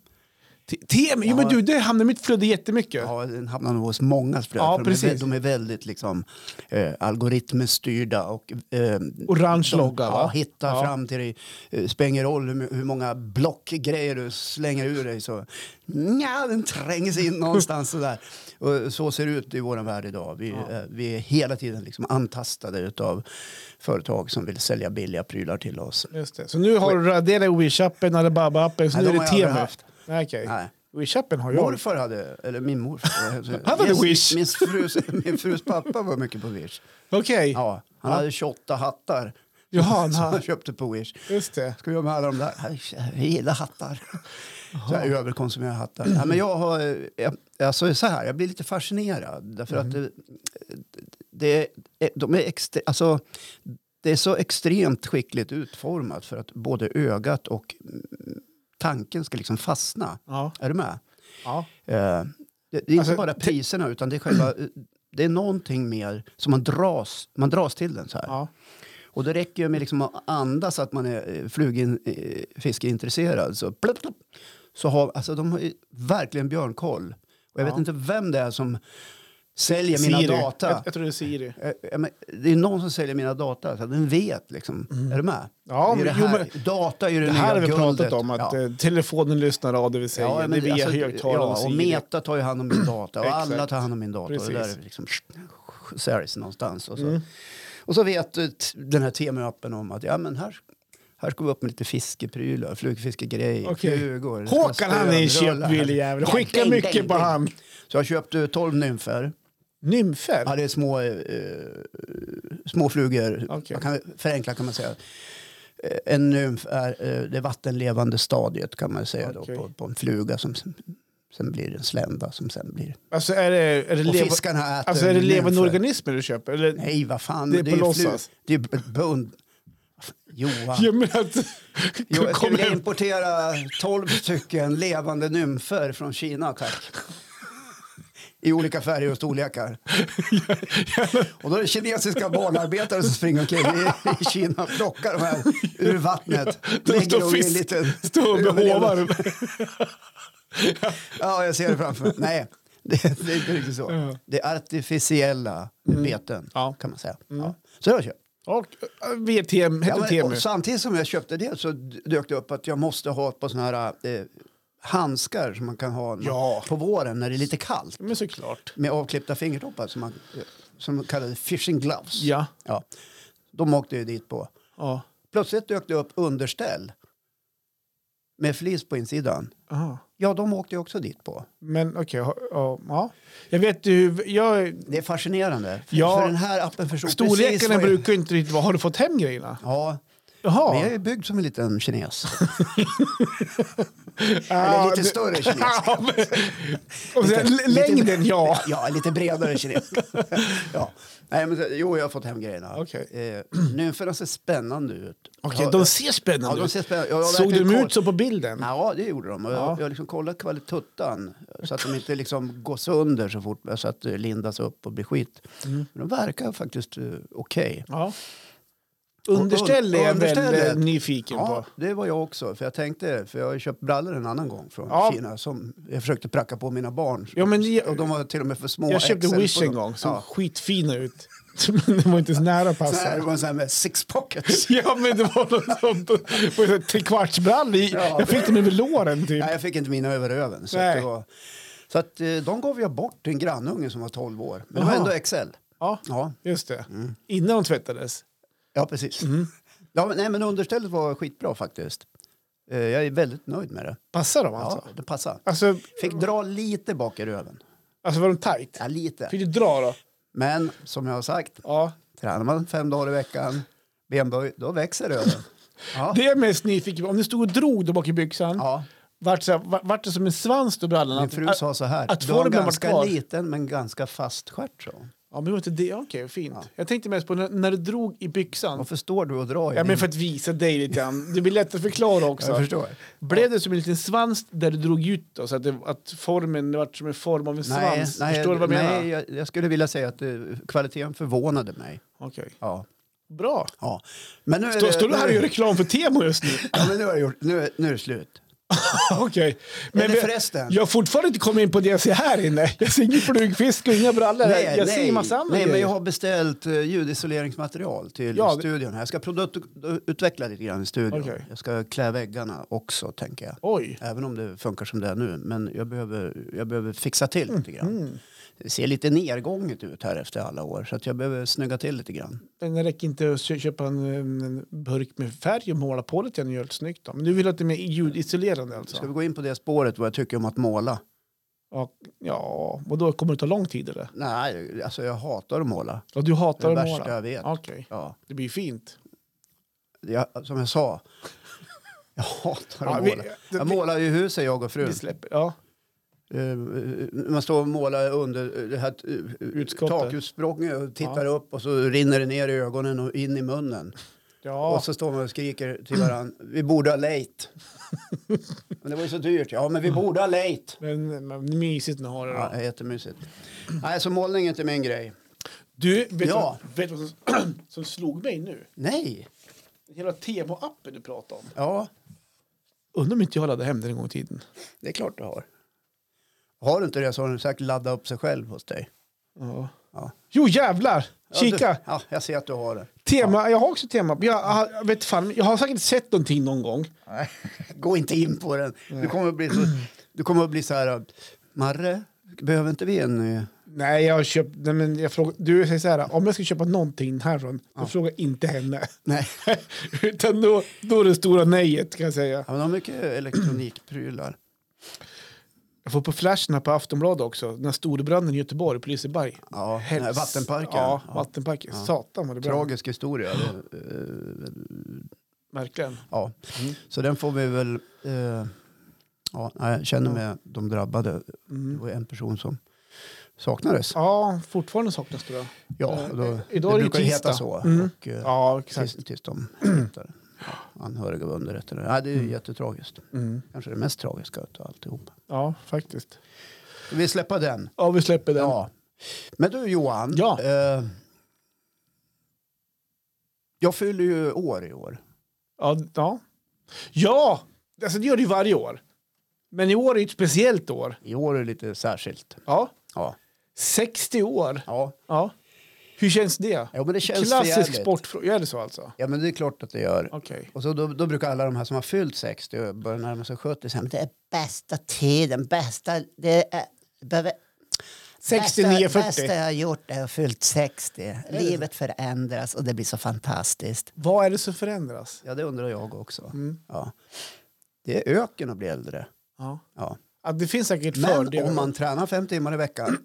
Te- Tem? Jo, men
Ja.
du, det hamnar i mitt flöde jättemycket.
Ja, den hamnar nog hos många. För det,
Ja,
för de, är,
precis.
vä- de är väldigt liksom, eh, algoritmstyrda. Och, eh,
Orange
de,
logga, va?
Ja, hittar
Ja.
fram till dig. Eh, spelar ingen roll hur, hur många blockgrejer du slänger ur dig. Så, nja, den tränger sig in någonstans. Sådär. Och så ser det ut i vår värld idag. Vi, eh, vi är hela tiden liksom antastade av företag som vill sälja billiga prylar till oss.
Just det. Så nu har du raderat Wish-appen, Alibaba-appen, så
Nej,
nu
de har
är det
jag aldrig
Temu.
haft.
Nej, okej.
Nej.
Wish-appen har jag.
Morfar hade, eller min morfar.
Han hade
Yes,
Wish.
Min frus, min frus pappa var mycket på Wish.
Okej.
Ja, han hade 28 hattar.
Jaha, han
som
har-
han köpte på Wish.
Just det.
Ska vi göra med alla de där? Jag gillar hattar. Så jag överkonsumerar hattar. Ja, men jag har, eh, jag, alltså så här, jag blir lite fascinerad. Därför att det, det, är- de är extre, alltså, det är så extremt skickligt utformat för att både ögat och mm, tanken ska liksom fastna.
Ja.
Är du med?
ja.
Eh, det, det är inte
Alltså,
bara priserna utan det är själva... eh, Det är någonting mer som man dras, man dras till den så här.
ja.
Och det räcker ju med liksom att andas att man är eh, flugin, eh, fiskeintresserad. Så, plup, plup, så har, alltså de har ju verkligen björnkoll. Och jag
Ja.
vet inte vem det är som säljer mina
Siri.
data.
Jag, jag tror det är Siri.
Eh, eh, men det är någon som säljer mina data, så den vet liksom. Är du med?
Mm. Ja,
det är det
jo,
här, data är ju det,
Det
nya
här har vi
guldet.
pratat om, att
Ja.
eh, telefonen lyssnar av det vi säger.
Ja,
det
men
är via
alltså,
högtalaren
ja, och
Siri.
Meta tar ju hand om min data och alla
Exakt.
tar hand om min data. Och det där
Precis. Mm.
är liksom säljs någonstans. Och så, och så vet eh, t- den här temaöppen om att ja, men här, här ska vi upp med lite fiskeprylar, flugfiskegrejer,
Okej.
flugor. det ska
Håkan han är en
stönrullar.
köpvillig jävel.
Ja,
Skicka
ding,
mycket
ding,
på
ding.
han.
Så jag köpte 12 nymfer.
Nymfer?
Ja, det är små, eh, små flugor.
Okej.
Man kan, förenklat kan man säga. Eh, En nymf är eh, det vattenlevande stadiet kan man säga
Okej.
då, på, på en fluga som sen, sen blir en slända som sen blir...
Alltså är det, är det,
Och
leva,
fiskarna äter
alltså, är det levande
nymfer.
organismer du köper? Eller?
Nej, vad fan.
Det är på
ju flu-
låtsas.
Det är b- bund... Johan.
Jag menar att...
Jo, jag skulle
Kommer-
vilja importera 12 stycken levande nymfer från Kina, tack. I olika färger och storlekar. Och då är det kinesiska barnarbetare som springer omkring i, i Kina och plockar de här ur vattnet.
De
Lägger
står
dem i en
fisk,
liten...
står och behåvar.
Ja, jag ser det framför mig. Nej, det, det är inte riktigt så.
Ja. Mm.
Det är artificiella beten,
Ja. Mm.
kan man säga. Ja. Så det har jag köpt.
Och eh, VTM,
Ja,
heter
men,
Temu.
och samtidigt som jag köpte det så d- dök det upp att jag måste ha ett par såna här eh, handskar som man kan ha när-
Ja.
på våren när det är lite kallt.
Men såklart.
Med avklippta fingertoppar som man eh, som man kallade fishing gloves.
Ja.
Ja. De åkte ju dit på.
ja.
Plötsligt dök det upp underställ med flis på insidan.
Aha.
Ja, de åkte ju också dit på.
Men okej, ha- ja, ja. Jag vet ju, jag,
Det är fascinerande. För,
Ja.
för den här appen förstod precis
storlekarna
vad jag-
brukar ju inte riktigt vara... Har du fått hem grejerna?
Ja,
Jaha.
men jag är ju byggd som en liten kines.
Ja,
Eller lite
det-
större kines.
Ja, men, och sen,
Lite-
l- längden,
lite-
ja.
Ja, lite bredare kines. ja. Nej, men, så- jo, jag har fått hem grejerna.
Okej.
Eh, nymferna ser spännande ut.
Okej,
Ja,
de ser spännande
ja, de
ut.
ser spännande. Jag har
Såg
verkligen
de
koll-
ut så på bilden?
Ja, det gjorde de. Och Jag,
Ja.
jag har liksom kollat kvalituttan så att de inte liksom går sönder så fort, så att det lindas upp och blir skit.
Mm.
Men de verkar faktiskt eh, okej.
Ja. Underställ är jag
Understället.
väldigt nyfiken
Ja,
på.
det var jag också. För jag tänkte, för jag har ju köpt brallor en annan gång från
Ja.
Kina som jag försökte pracka på mina barn.
Ja, men jag-
och de var till och med för små.
Jag köpte
XL på
Wish
dem.
en gång, såg
Ja.
skitfina ut. Men de var inte så nära att
Så här, det
passa.
var en sån här med six pockets.
Ja, men det var något sånt. Det var så här Trekvartsbrall i.
Ja.
Jag fick den över låren typ.
Nej, jag fick inte mina över öven. Så,
Nej.
att det var, så att, eh, de gav jag bort till en grannunge som var 12 år. Men det
Jaha.
var ändå XL.
Ja,
Ja,
just det.
Mm.
Innan de tvättades.
ja precis.
Mm.
Ja, men, nej, men understället var skitbra faktiskt. Eh, Jag är väldigt nöjd med det.
Passar de alltså?
Ja, det passar.
Alltså,
Fick dra lite bak i röven.
Alltså var de tight?
Ja, lite.
Fick du dra då?
Men som jag har sagt,
Ja.
tränar man fem dagar i veckan, benböj, då växer röven. Ja.
Det är jag mest nyfiken på. Om ni stod och drog då bak i byxan,
ja.
vart, så här, vart, vart det som en svans då brallan?
Min fru sa så här,
att
du har en
formen var
ganska
kvar."
liten men ganska fast stjärt. sa hon.
Ja, men det var inte det. Ja, Okej, fint. Jag tänkte mest på när, när du drog i byxan.
Varför står du och drar i
Ja,
din-
men för att visa dig lite grann. Det blir lätt att förklara också.
Jag förstår.
Blev det som en liten svans där du drog ut då, så att, det, att formen det vart som en form av en svans? Förstår du vad jag menar?
nej jag, jag skulle vilja säga att eh, kvaliteten förvånade mig.
Okej.
Ja.
Bra.
Ja. Men nu är
Står,
det,
står du
nu,
här och gör reklam för Temo just nu?
ja, men nu, har jag gjort, nu, är- nu är det slut.
Okej.
Eller
vi-
förresten.
Jag har fortfarande inte kommit in på det jag ser här inne. Jag ser ingen flugfisk och inga brallor. jag ser ju massa andra
nej men
grejer.
jag har beställt eh, ljudisoleringsmaterial till
Ja, det-
studion. här. Jag ska produktutveckla lite grann i studion.
Okej.
Jag ska klä väggarna också, tänker jag.
Oj.
Även om det funkar som det är nu. Men jag behöver, jag behöver fixa till lite grann.
Mm,
Det ser lite nedgånget ut här efter alla år. Så att jag behöver snygga till lite grann.
Men det räcker inte att kö- köpa en, en burk med färg och måla på lite grann och göra det snyggt. Då. Men du vill att det är mer ljudisolerande
Ska
alltså?
vi gå in på det spåret vad jag tycker om att måla?
Ja, ja, och då kommer det ta lång tid eller?
Nej, alltså jag hatar att måla.
Ja, du
Det är
hatar
det
att
värsta
måla?
jag vet.
Okej,
Ja.
det blir fint.
Jag, som jag sa, jag hatar
Ja,
att
vi-
måla.
det-
Jag målar ju huset, jag och frun.
Vi släpper, ja.
Eh, Man står och målar under det här eh,
Utskottet.
takutsprånget och tittar upp och så rinner det ner i ögonen och in i munnen.
ja.
Och så står man och skriker till varandra, vi borde ha lejt. men det var ju så dyrt, ja men vi borde ha lejt.
Men, men mysigt ni har det då.
Ja, det är jättemysigt. Nej, så målning är inte min grej.
Du, vet
Ja.
du vet du vad som, som slog mig nu?
Nej,
Hela Temo-appen du pratade om.
ja
Undrar om inte jag laddade hem den en gång i tiden.
det är klart du har. Har du inte det så har du säkert laddat upp sig själv hos dig.
Ja.
Ja.
Jo, jävlar!
Ja,
Kika!
Du, ja, jag ser att du har det.
Tema, jag har också tema. Jag, har- jag, vet fan, jag har säkert sett någonting någon gång.
Nej, gå inte in på den. Du kommer att bli så, du kommer att bli så här... Marre, behöver inte vi en... eh,
Nej, jag har köpt... Nej, men jag frågar, du säger så här, om jag ska köpa någonting härifrån, då frågar jag inte henne.
Nej.
Utan då, då är det stora nejet kan jag säga.
Ja, men de har mycket elektronikprylar.
Jag får på flashen här på Aftonbladet också, den här storbranden i Göteborg, på Liseberg.
Ja, den här
Hels-
vattenparken.
Ja,
Ja.
vattenparken. Satan vad det brann.
Tragisk historia. Det, eh,
Verkligen.
ja. Så den får vi väl... eh, ja, Mm. nej, jag känner med de drabbade. Det var en person som saknades.
Ja, fortfarande saknas det då.
Ja,
Eh,
och då,
eh, idag är det
brukar ju heta
tisdag.
så. Och, eh,
Ja, exakt.
tills, tills de hittar anhöriga och underrättar. Nej, det är ju jättetragiskt.
Mm.
Kanske det mest tragiska av alltihop.
Ja, faktiskt.
Vi släpper den.
Ja, vi släpper den.
Ja. Men du Johan.
Ja.
Eh, jag fyller ju år i år.
Ja, d- ja. ja alltså det gör det ju varje år. Men i år är ju ett speciellt år.
I år är det lite särskilt.
Ja.
Ja.
60 år.
Ja,
Ja. Hur känns det?
ja men det känns
Klassisk
jävligt.
sportfråga. Är det så alltså?
Ja men det är klart att det gör.
Okej.
Och så då, då brukar alla de här som har fyllt 60 och börjar närma sig 70 säga men det är bästa tiden, bästa, det är, behöver, bästa,
69-40.
bästa jag har gjort är att fyllt 60. Livet förändras och det blir så fantastiskt.
Vad är det som förändras?
Ja det undrar jag också.
Mm.
Ja. Det är öken att bli äldre.
Ja.
Ja.
Ja, det finns säkert
Men
fördelar.
om man tränar fem timmar i veckan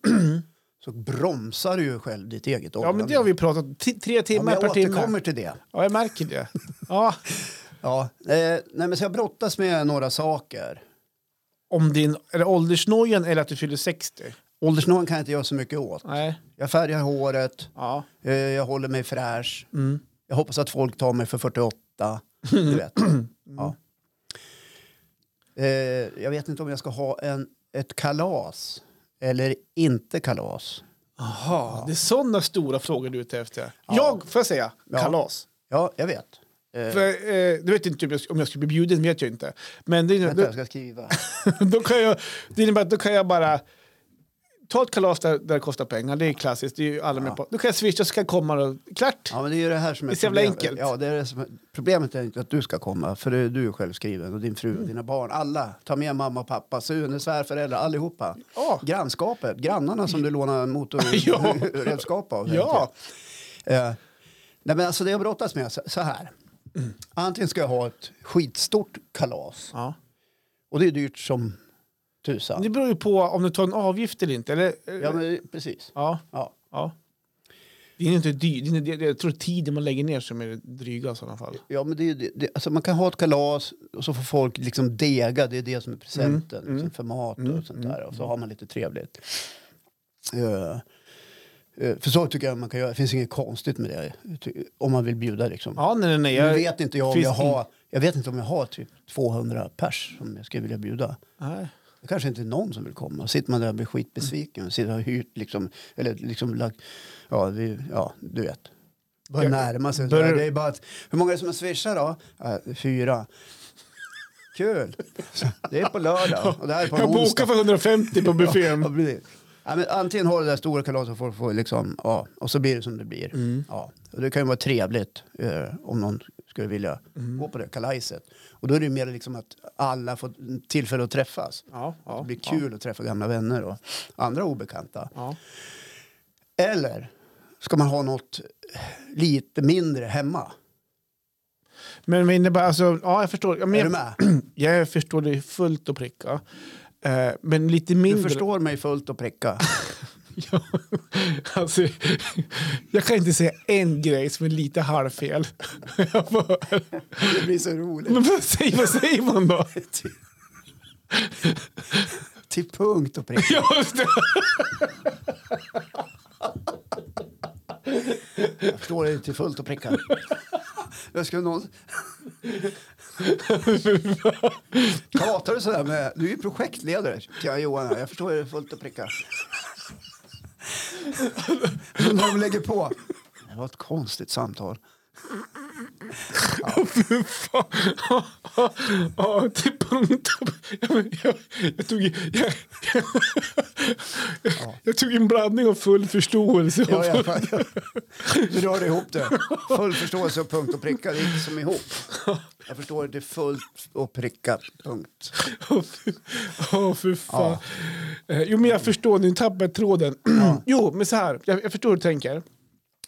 så bromsar du ju själv ditt eget
Ja, men det har vi pratat om. T- Tre
Ja, men
timmar
jag
per
återkommer
timme.
till det.
Ja, jag märker det. Ja.
Ja. Eh, nej, men så jag brottas med några saker.
Om din, är det åldersnojan eller att du fyller 60?
Åldersnivån kan jag inte göra så mycket åt.
Nej.
Jag färgar håret,
Ja.
eh, jag håller mig fräsch.
Mm.
Jag hoppas att folk tar mig för 48. Du vet.
Mm.
Ja. Eh, jag vet inte om jag ska ha en, ett kalas eller inte kalas.
Aha, det är sådana stora frågor du är ute efter. Jag, får jag säga,
Ja.
kalas.
Ja, jag vet. Eh,
För, eh, du vet inte om jag sk- om jag skulle bli bjuden, vet jag inte. Men det,
vänta,
innebär-
jag ska skriva.
då, då, kan jag, det innebär att då kan jag bara ta ett kalas där, där det kostar pengar, det är klassiskt, det är ju alla med på. Då kan jag swisha så kan jag komma och klart.
Ja, men det är ju det här som är
Det är så jävla
problemet.
enkelt.
Ja, det är det som är, problemet är inte att du ska komma, för det är du är självskriven och din fru
Mm.
och dina barn. Alla, ta med mamma och pappa, Sune, svärföräldrar, allihopa.
Ja.
Grannskapet, grannarna som du lånar
Ja.
motorredskap av.
Ja.
Eh, nej, men alltså det jag brottas med, så, så här.
Mm.
Antingen ska jag ha ett skitstort kalas
Ja.
och det är dyrt som tusan.
Det beror ju på om du tar en avgift eller inte. Eller,
Ja, men precis.
ja.
Ja.
ja. Det är ju inte dyrt. Det är- det- det- Jag tror tiden man lägger ner som är det dryga i sådana fall.
Ja, men det, är ju det, det, alltså man kan ha ett kalas och så får folk liksom dega, det är det som är presenten
Mm, mm.
liksom, för mat och
Mm,
sånt där. Och så har man lite trevligt. Eh, eh, för så tycker jag man kan göra, det finns inget konstigt med det. ty- Om man vill bjuda liksom.
Ja, nej, nej, nej.
nu
Jag,
vet inte jag om
finns
jag har, jag vet inte om jag har typ 200 pers som jag skulle vilja bjuda.
nej.
Det kanske inte är någon som vill komma. Sitter man där och blir skitbesviken. Sitter och har hyrt liksom, eller liksom lagt, ja, vi, ja du vet. Börjar
Jag-
närma sig.
börjar-
Det är bara att, hur många är det som har swishat då? Äh, fyra. Kul! Det är på lördag och det här är på en
Jag bokar
onsdag.
för 150 på buffén.
Ja, precis. Ja, men antingen har du det där stora kalaset och folk får liksom, ja, och så blir det som det blir.
Mm.
Ja. Och det kan ju vara trevligt eh, om någon skulle vilja
Mm.
gå på det kalaset. Och då är det ju mer liksom att alla får tillfälle att träffas.
Ja, ja,
Det blir kul att träffa gamla vänner och andra obekanta.
Ja.
Eller ska man ha något lite mindre hemma?
Men vad innebär, alltså, ja jag förstår. Ja, men
är du
jag,
med?
jag förstår det fullt och pricka. Eh, men lite mindre.
Du förstår mig fullt och pricka.
Ja, alltså, jag kan inte säga en grej som är lite halvfel. Jag bara,
Det blir så roligt.
men vad säger, vad säger man då?
Till- Till punkt och pricka.
Ja, just det.
Jag förstår dig till fullt och pricka. Jag skulle någon... Pratar du sådär med... Du är ju projektledare. Ja, Johan, här. jag förstår dig fullt och pricka. När de lägger på. Det var ett konstigt samtal.
Fy fan. Ja, ja, ja, till punkt. Ja, men Jag, jag, tog, i- jag, jag, jag tog en blandning av full förståelse.
Ja, ja, fan, ja. Du rörde ihop det. Full förståelse och punkt och pricka. Det gick som ihop. Jag förstår det fullt och pricka. Punkt.
Åh, fy- åh, fy fan. Eh, Jo, men jag förstår. Nu tappar jag tråden. Jo, men så här. Jag, jag förstår hur du tänker.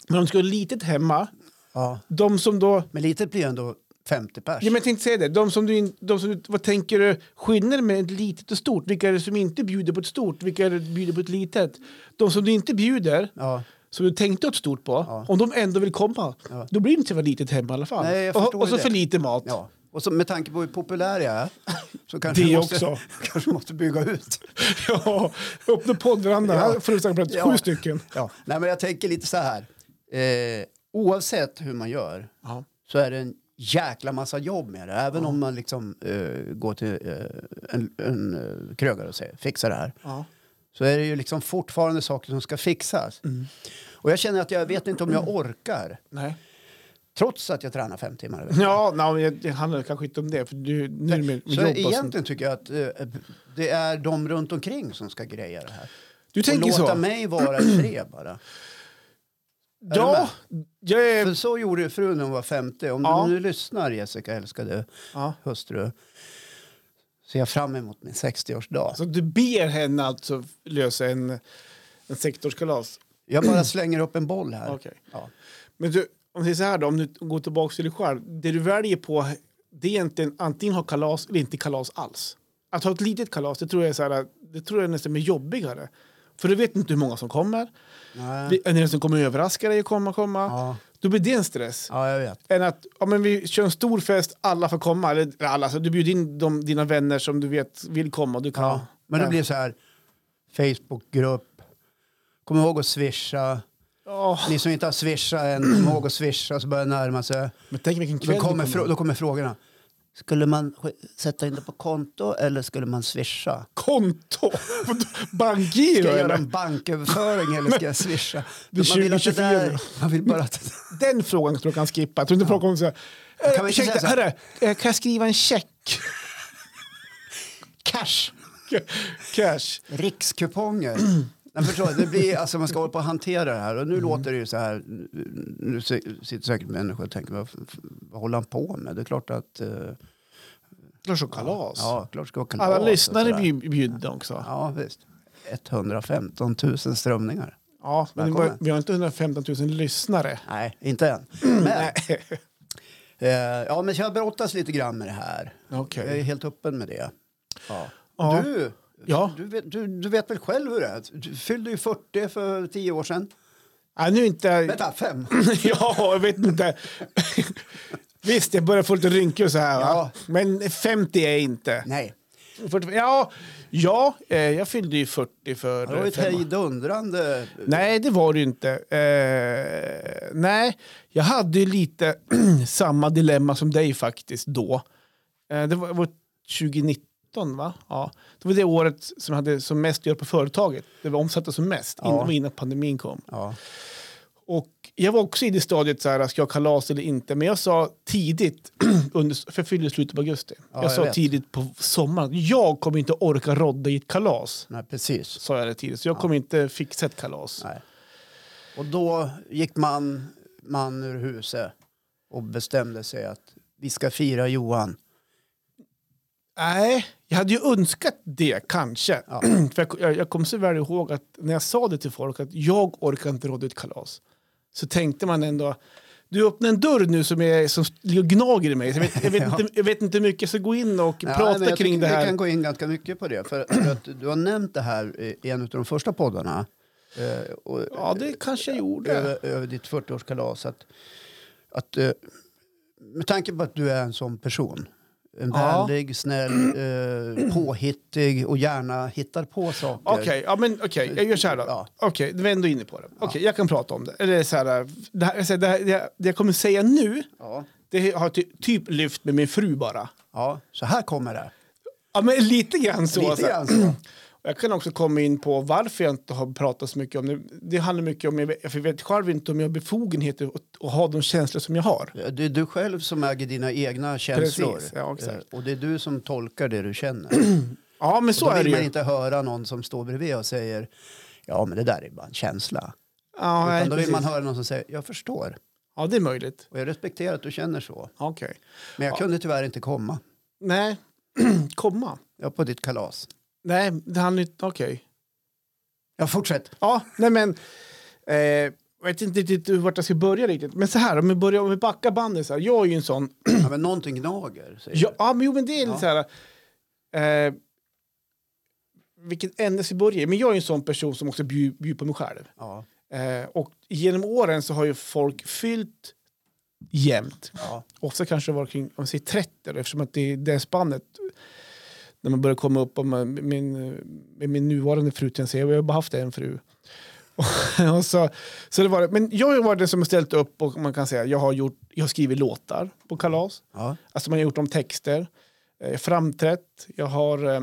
Men om du ska ha litet hemma,
Ja.
de som då...
Men litet blir ändå 50 pers.
Ja, men jag tänkte säga det. De som du, in- de som, du- vad tänker du skillnaden med ett litet och stort? Vilka är det som inte bjuder på ett stort? Vilka är det som bjuder på ett litet? De som du inte bjuder,
Ja.
som du tänkte ett stort på,
Ja.
om de ändå vill komma,
Ja.
då blir det inte så litet hemma i alla fall.
Nej, jag
och,
förstår
och så
det.
för lite mat.
Ja. Och så med tanke på hur populär jag är så kanske
Det
jag måste,
också.
kanske måste bygga ut.
ja. Öppna poddverandan.
Ja.
Här får du säkert plats
Ja.
sju stycken.
Ja. Nej, men jag tänker lite så här. Eh, oavsett hur man gör
Ja.
så är det en jäkla massa jobb med det. Även om man liksom eh, går till eh, en, en eh, krögare och säger fixa det här.
Ja.
Så är det ju liksom fortfarande saker som ska fixas.
Mm.
Och jag känner att jag vet inte om jag orkar.
Nej.
Trots att jag tränar fem timmar i veckan.
Ja, nej, men det- det handlar kanske inte om det. För du, nu är det med, med
Så
jobb och sånt.
egentligen tycker jag att eh, det är de runt omkring som ska greja det här.
Du
och
tänker
låta
så?
mig vara i fred bara.
ja, jag är...
För så gjorde ju frun när hon var 50. Om
Ja.
du nu lyssnar, Jessica, älskade
Ja.
hustru, ser jag fram emot min 60-årsdag.
Så du ber henne alltså lösa en, en sektorskalas?
Jag bara slänger upp en boll här.
Okej.
Ja.
Men du, om det är så här då, om du går tillbaka till dig själv. Det du väljer på det är egentligen antingen ha kalas eller inte kalas alls. Att ha ett litet kalas, det tror jag är, så här, det tror jag nästan är jobbigare. För du vet inte hur många som kommer.
Nej.
Det är någon som kommer överraska dig och komma, komma.
Ja.
Då blir det en stress.
ja, jag vet.
Än att ja, men vi kör en stor fest, alla får komma. Eller eller alla, så du bjuder in de, dina vänner som du vet vill komma. och Du kan,
Ja. Men det blir så här, Facebookgrupp, kom ihåg att swisha.
Ja,
Ni som inte har swishat än, kom ihåg att swisha så börjar det närma sig.
men tänk vilken kväll
Då
du
kommer,
kommer
frå- då kommer frågorna. Skulle man sk- sätta in det på konto eller skulle man swisha?
konto? Bankgiro?
Ska jag göra
eller?
en banköverföring eller ska jag swisha?
Det
Man
är
vill, att det
20-24
där, man vill bara att
Den frågan tror jag kan skippa. Jag tror inte folk kommer säga
Kan
kan
vi inte
ursäkta,
säga så här?"
hörru, eh, kan jag skriva en check?
Cash!
Cash.
Rikskuponger. Nej, förstår, du? det blir, alltså, man ska hålla på att hantera det här. Och nu
Mm.
låter det ju så här. Nu se- sitter säkert människor och tänker vad, vad håller han på med? Det är klart att... eh,
Klart som kalas.
Ja, klart ska det vara kalas.
Alla
och
lyssnare
sådär.
blir ju bjudna också.
Ja, visst. 115 000 strömningar.
Ja, men
Välkommen.
vi- vi har inte 115 000 lyssnare.
Nej, inte än. Men, eh, ja, men jag brottas lite grann med det här.
Okej.
Jag är helt öppen med det. Ja.
Ja.
Du
Ja.
Du, vet, du, du vet väl själv hur det är? Du fyllde ju 40 för 10 år sedan.
Nej, nu inte...
Vänta, fem.
ja, jag vet inte. Visst, jag börjar få lite rynkor så här. Va?
Ja.
Men 50 är jag inte.
Nej,
45, ja, ja, eh, jag fyllde ju 40 för...
det var ju ett
fem år-
hejdundrande...
Nej, det var det ju inte. Eh, nej, jag hade ju lite samma dilemma som dig faktiskt då. Eh, det var, var 2019, va? Ja. Det var det året som jag hade som mest att göra på företaget. Det var omsatta som mest,
Ja.
innan, innan pandemin kom.
Ja.
Och jag var också i det stadiet, så här, ska jag ha kalas eller inte? Men jag sa tidigt, under, för jag fyllde i slutet på augusti.
Ja,
jag
jag
sa
vet.
tidigt på sommaren, jag kommer inte orka rodda i ett kalas.
Nej, precis.
Sa jag det tidigt, så jag kommer inte fixa ett kalas.
Nej. Och då gick man, man ur huset och bestämde sig att vi ska fira Johan.
Nej, jag hade ju önskat det kanske.
Ja.
För jag, jag, jag kommer så väl ihåg att när jag sa det till folk att jag orkar inte råda ut kalas. Så tänkte man ändå, du öppnar en dörr nu som, är, som ligger och gnager i mig. Jag vet, jag vet, inte, jag vet inte hur mycket jag ska gå in och
Nej,
prata
men jag
kring
tycker
det
Vi
här.
kan gå in ganska mycket på det. För, för att du har nämnt det här i en av de första poddarna. eh, Och,
Ja, det kanske jag gjorde.
över, över ditt 40-årskalas. Att, att, eh, med tanke på att du är en sån person. En
Ja.
vänlig, snäll, eh, påhittig och gärna hittar på saker.
Okej, ja, men okej, jag gör så här då.
Ja.
Okej, du var ändå inne på det. Okej, jag kan prata om det. Eller så här, det, här, jag säger, det, här, det, här, det jag kommer säga nu,
Ja.
det har jag ty, typ lyft med min fru bara.
ja, så här kommer det.
Ja, men lite grann så.
Lite
så här.
grann så.
Jag kan också komma in på varför jag inte har pratat så mycket om det. Det handlar mycket om, jag vet- för jag vet själv inte om jag har befogenheter att, att ha de känslor som jag har.
Det är du själv som äger dina egna känslor.
Precis, ja, exakt.
Eh, Och det är du som tolkar det du känner.
Ja, men
Så
så
Då
är det
vill man
ju.
inte höra någon som står bredvid och säger ja men det där är bara en känsla.
Ja, nej,
Utan då vill
precis.
man höra någon som säger jag förstår
ja, det är möjligt.
och jag respekterar att du känner så.
Okej.
Men jag kunde tyvärr inte komma.
Nej, komma.
Jag var på ditt kalas.
Nej, det handlar inte... Okej.
Ja, fortsätt.
Ja, nej men... Eh, jag vet inte riktigt vart jag ska börja riktigt. Men så här, om vi, börjar, om vi backar bandet så här. Jag är ju en sån...
Ja, men någonting gnager. Säger
Ja, ja men, jo, men det är
Ja.
lite så här... Eh, vilket ämne ska vi börja i? Men jag är ju en sån person som också bjud- bjuder på mig själv.
du. Ja,
Eh, och genom åren så har ju folk fyllt jämnt.
ja,
Ofta kanske det var kring om man säger 30 då, eftersom att det är det spannet. När man börjar komma upp om man- min, med min nuvarande fru, till jag säger, jag har bara haft en fru. och så, så det var det. Men jag har ju varit den som har ställt upp och man kan säga jag har, gjort, jag har skrivit låtar på kalas.
ja.
Alltså man har gjort om texter, eh, framträtt, jag har, eh,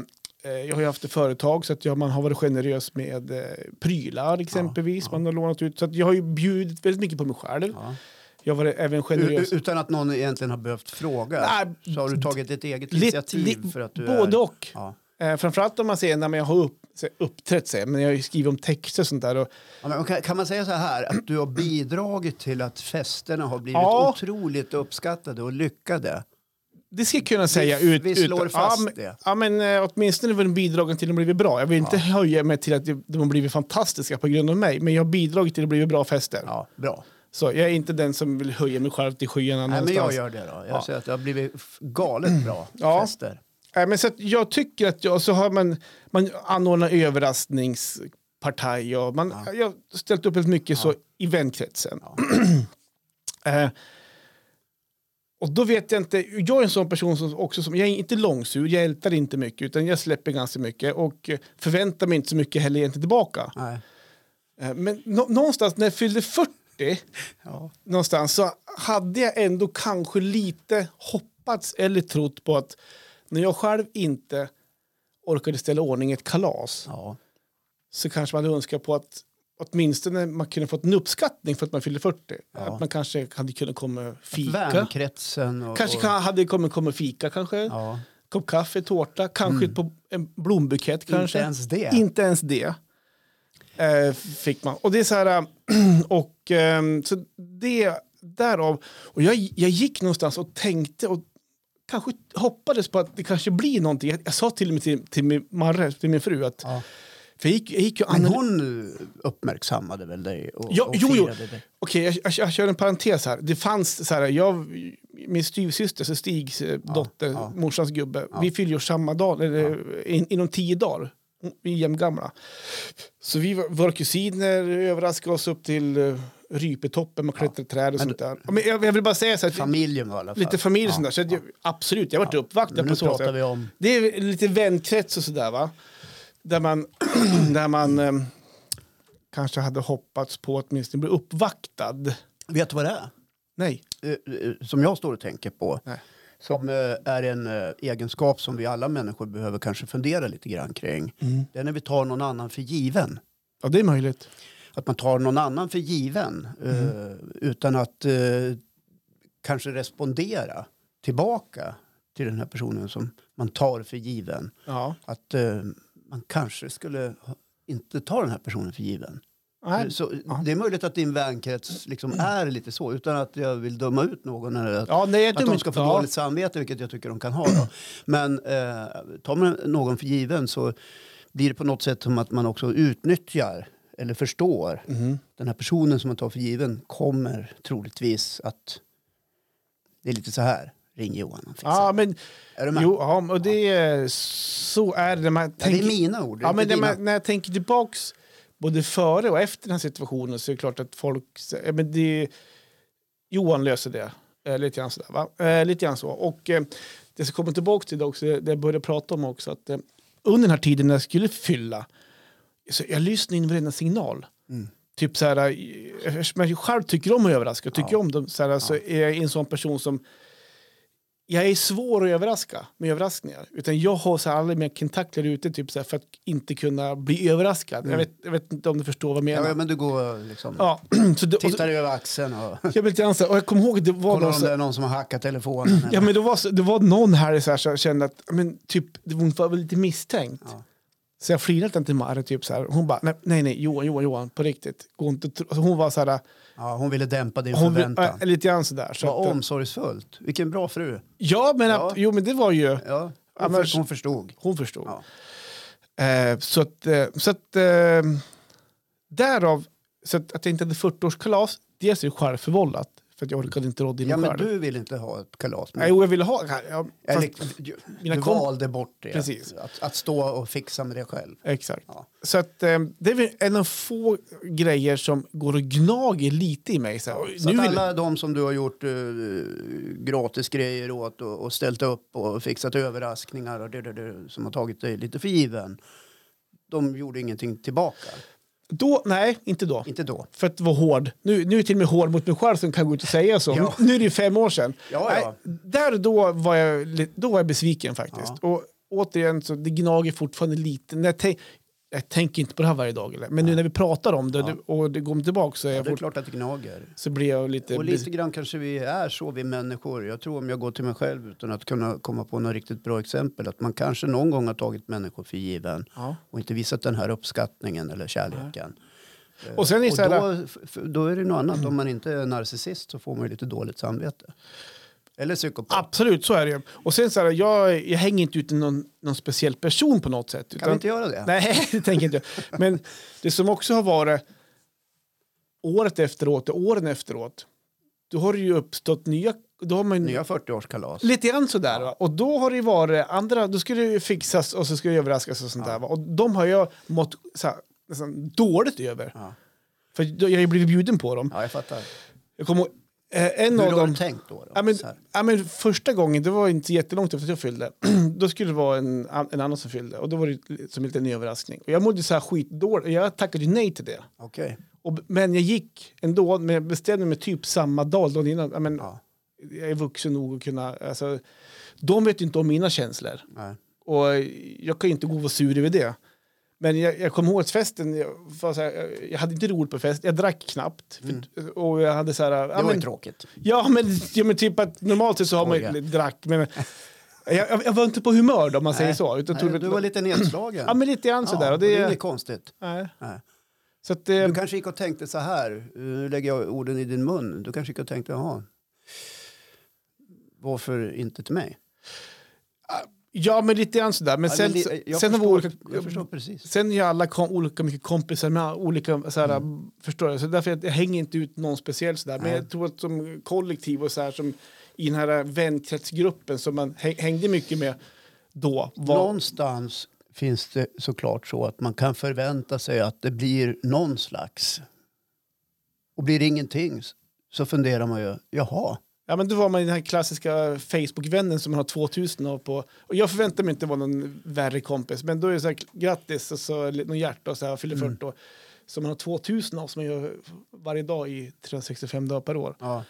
jag har ju haft ett företag så att jag, man har varit generös med eh, prylar exempelvis. Man har lånat ut, så att jag har ju bjudit väldigt mycket på mig själv.
ja.
Jag var även
U-
generös.
utan att någon egentligen har behövt fråga
Nej,
så har du tagit ett eget
lite-
initiativ
li-
för att du
både
är...
och.
Ja.
Eh, framförallt om man säger när jag har upp, så här, uppträtt, säger jag, men jag har ju skrivit om texter och sånt där. Och,
Ja, men kan, kan man säga så här att du har bidragit till att festerna har blivit
Ja.
otroligt uppskattade och lyckade?
det ska jag kunna säga. Ut,
vi
ut-
slår fast
ja, men,
det.
Ja, men eh, åtminstone var bidragen till att de blivit bra. Jag vill inte höja mig till att de de har blivit fantastiska på grund av mig, men jag har bidragit till att det blivit bra fester.
Ja, bra.
Så jag är inte den som vill höja mig själv till skyarna
Nej, men
någonstans.
jag gör det då. Jag
Ja.
säger att det har blivit f- galet bra
Ja.
fester.
Nej, men så att jag tycker att jag, så har man, man anordnar överraskningspartaj och man, jag har ställt upp väldigt mycket så i vänkretsen. eh, och då vet jag inte, jag är en sån person som också, som, jag är inte långsur, jag ältar inte mycket utan jag släpper ganska mycket och eh, förväntar mig inte så mycket heller egentligen tillbaka.
Nej.
Eh, men nå- någonstans när jag fyllde 40
Ja.
någonstans så hade jag ändå kanske lite hoppats eller trott på att när jag själv inte orkade ställa i ordning ett kalas
Ja.
så kanske man hade önskat på att åtminstone man kunde fått en uppskattning för att man fyllde 40. Att man kanske hade kunnat komma och fika.
Vänkretsen och...
Kanske
och,
kan, hade kommit komma och fika kanske.
Ja.
Kopp kaffe, tårta, kanske på en blombukett
Mm. Inte
kanske.
ens det.
Inte ens det eh, fick man. Och det är så här, eh, och ehm, så det därav, och jag, jag gick någonstans och tänkte och kanske hoppades på att det kanske blir någonting. Jag, jag sa till och med till, till min Marre, till min fru, att,
Ja.
för jag gick, jag gick ju
Men
anal-
hon uppmärksammade väl dig och,
Ja,
och
jo, jo.
firade dig?
Okej, jag, jag, jag kör en parentes här. Det fanns så här, jag, min styvsyster, så Stigs eh, dotter,
ja.
morsans gubbe, vi fyllde ju samma dag, eller, in, inom tio dagar Vi är jämngamla. Så vi, var- våra kusiner överraskade oss upp till eh, Rypetoppen och klättrade i träd och sånt där. Ja, Men jag, jag vill bara säga så här, att-
Familjen var i alla fall.
lite familj och sånt där. Så att jag, absolut, jag har varit uppvaktad
Men
på
nu
så
pratar
sätt.
vi om...
Det är lite vänkrets och sådär va. Där man, där man ehm, kanske hade hoppats på att åtminstone bli uppvaktad.
Vet du vad det är?
Nej.
Eh, eh, Som jag står och tänker på.
Nej.
Som eh, är en eh, egenskap som vi alla människor behöver kanske fundera lite grann kring.
Mm.
Det är när vi tar någon annan för given.
Ja, det är möjligt.
Att man tar någon annan för given eh,
Mm.
utan att eh, kanske respondera tillbaka till den här personen som man tar för given.
Ja.
Att eh, man kanske skulle ha- inte ta den här personen för given.
Nej.
Eh, Så,
Ja.
det är möjligt att din vänkrets liksom är lite så utan att jag vill döma ut någon. Eller att,
Mm. Ja, nej, jag
att
dömer
de ska
inte.
få
Ja.
dåligt samvete, vilket jag tycker de kan ha. Då. Men eh, tar man någon för given så blir det på något sätt som att man också utnyttjar eller förstår.
Mm-hmm.
Den här personen som man tar för given kommer troligtvis att... Det är lite så här. Ring Johan. han fixar
Ja,
det.
men,
är du med?
jo, ja, och det är, så är det. när Man
ja, det
tänker,
är mina ord. det är
ja, men
inte
när,
dina.
man, när jag tänker tillbaks både före och efter den här situationen så är det klart att folk... sä- Ja, men det, Johan löser det. Eh, lite grann sådär, va? Eh, lite grann så. Och eh, det som kommer tillbaka till det också, det jag började prata om också, att eh, under den här tiden när jag skulle fylla, så jag lyssnade in varenda signal.
Mm.
Typ så här, eh, eftersom jag själv tycker om att överraska, tycker
Ja.
om dem, så, här, så är jag en sån person som jag är svår att överraska med överraskningar. Utan jag har så här alla mina tentakler ute typ så här, för att inte kunna bli överraskad. Jag, vet, jag vet inte om du förstår vad jag menar.
Mm. ja, men du går liksom...
Ja, så det, och så,
Tittar över axeln och
jag blir lite grann så här, och jag kommer ihåg att det var
kollar
någon
om
så
det
här,
är någon som har hackat telefonen.
Ja,
eller-
men det, var, så- det var någon här så här, som kände att men, typ, hon var väl lite misstänkt.
Ja.
Så jag flinade lite till Mari, typ så här. Hon bara, nej, nej, nej, Johan, Johan, Johan, på riktigt. Gå inte, och tro- alltså, hon var så här,
Ja, hon ville dämpa din
hon,
förväntan.
äh, lite grann så där. Så
Vad
att,
omsorgsfullt. Vilken bra fru.
ja, men
Ja.
att, jo, men det var ju,
Ja, hon,
Annars-
för, hon förstod.
hon förstod.
Ja.
Eh, så att, eh, så att eh, därav, så att, att jag inte hade 40-årskalas, dels är det självförvållat, för att jag orkade inte rådde in
Ja,
mig
men
själv.
du vill inte ha ett kalas
Nej,
med.
jo, jag ville ha, ja, fast,
Eller, du
mina
du
komp-
valde bort det.
Precis.
Att, att stå och fixa med det själv.
exakt.
Ja.
Så att eh, det är väl en av få grejer som går och gnager lite i mig. Så här,
Så
nu
att
vill,
alla de som du har gjort uh, gratis grejer åt och, och ställt upp och fixat överraskningar och det, det, det, som har tagit dig lite för given. De gjorde ingenting tillbaka.
då, nej, inte då.
Inte då.
För att vara hård. Nu, nu är jag till och med hård mot mig själv som kan gå ut och säga så.
Ja.
Nu är det ju fem år sedan.
Ja, ja.
Nej, där då var, jag, li- då var jag besviken faktiskt. Och återigen, så det gnager fortfarande lite. När jag, tänk, jag tänker inte på det här varje dag, eller? men nu när vi pratar om det
Ja.
du- och det går tillbaka så, är jag
Det är
fort,
klart att det gnager.
så blir jag lite...
Och
bes-
lite grann kanske vi är så, vi människor. Jag tror om jag går till mig själv utan att kunna komma på något riktigt bra exempel att man kanske någon gång har tagit människor för given
Ja.
och inte visat den här uppskattningen eller kärleken.
Och sen är det
Och
så här,
då, f- f- då är det något annat. Om man inte är narcissist så får man ju lite dåligt samvete. Eller psykopat.
absolut så är det ju. Och sen så här, jag, jag hänger inte ut någon, någon speciell person på något sätt.
Kan vi inte göra det?
Nej, det tänker inte jag. Men det som också har varit året efteråt och åren efteråt, då har det ju uppstått nya... Då har man ju,
Nya 40-årskalas.
Lite grann sådär. Va? Och då har det ju varit andra, då ska det ju fixas och så ska det överraskas och sånt där. Va? Och de har jag mått såhär, nästan dåligt över.
Ja.
För då- jag har ju blivit bjuden på dem.
Ja, jag fattar.
Jag kommer ihåg, eh, en
Hur
av
har
dem...
du tänkt då? då?
Ja, men,
Så här.
ja, men första gången, det var inte jättelångt efter att jag fyllde, då skulle det vara en, an- en annan som fyllde. Och då var det ju som en liten överraskning. Och jag mådde så här skitdåligt, jag tackade ju nej till det.
Okej.
Och, men jag gick ändå, men jag bestämde mig typ samma dag, dagen innan. Ja, men,
Ja.
Jag är vuxen nog att kunna, alltså, de vet ju inte om mina känslor.
Nej.
Och jag kan ju inte gå och vara sur över det. Men jag, jag kommer ihåg att festen, jag, var så här, jag- jag hade inte roligt på fest, jag drack knappt. För, Och jag hade så här... ja,
Mm. Det var
men-
ju tråkigt.
Ja men, ja, men typ att normalt sett så har man
Skoja.
ju drack, men jag, jag, jag var inte på humör då, om man säger så. Utan
Nej,
tog,
du var lite nedslagen.
Ja men lite grann
Ja,
sådär. Och
och det är
det,
inget konstigt.
nej.
Nej.
Så att, eh,
Du kanske gick och tänkte så här, nu lägger jag orden i din mun. Du kanske gick och tänkte, jaha, varför inte till mig?
ja men lite grann sådär. Men
Ja,
sen,
men li- jag,
sen har vi
förstår,
olika...
jag förstår precis.
Sen är ju alla kom, olika mycket kompisar med olika, så här, förstår jag? Så därför jag, jag hänger inte ut någon speciell sådär. Men
Mm. Nej.
jag tror att som kollektiv och så här, som i den här vänkretsgruppen som man häng- hängde mycket med då. Var,
Någonstans finns det såklart så att man kan förvänta sig att det blir någon slags. Och blir det ingenting så funderar man ju, jaha,
Ja, men då var man i den här klassiska Facebook-vännen som man har 2000 av på. Och jag förväntar mig inte vara någon värre kompis, men då är det så här grattis och så någon hjärta och så här
Mm.
fyller 40 år. Så man har 2000 av som man gör varje dag i 365 dagar per år.
ja,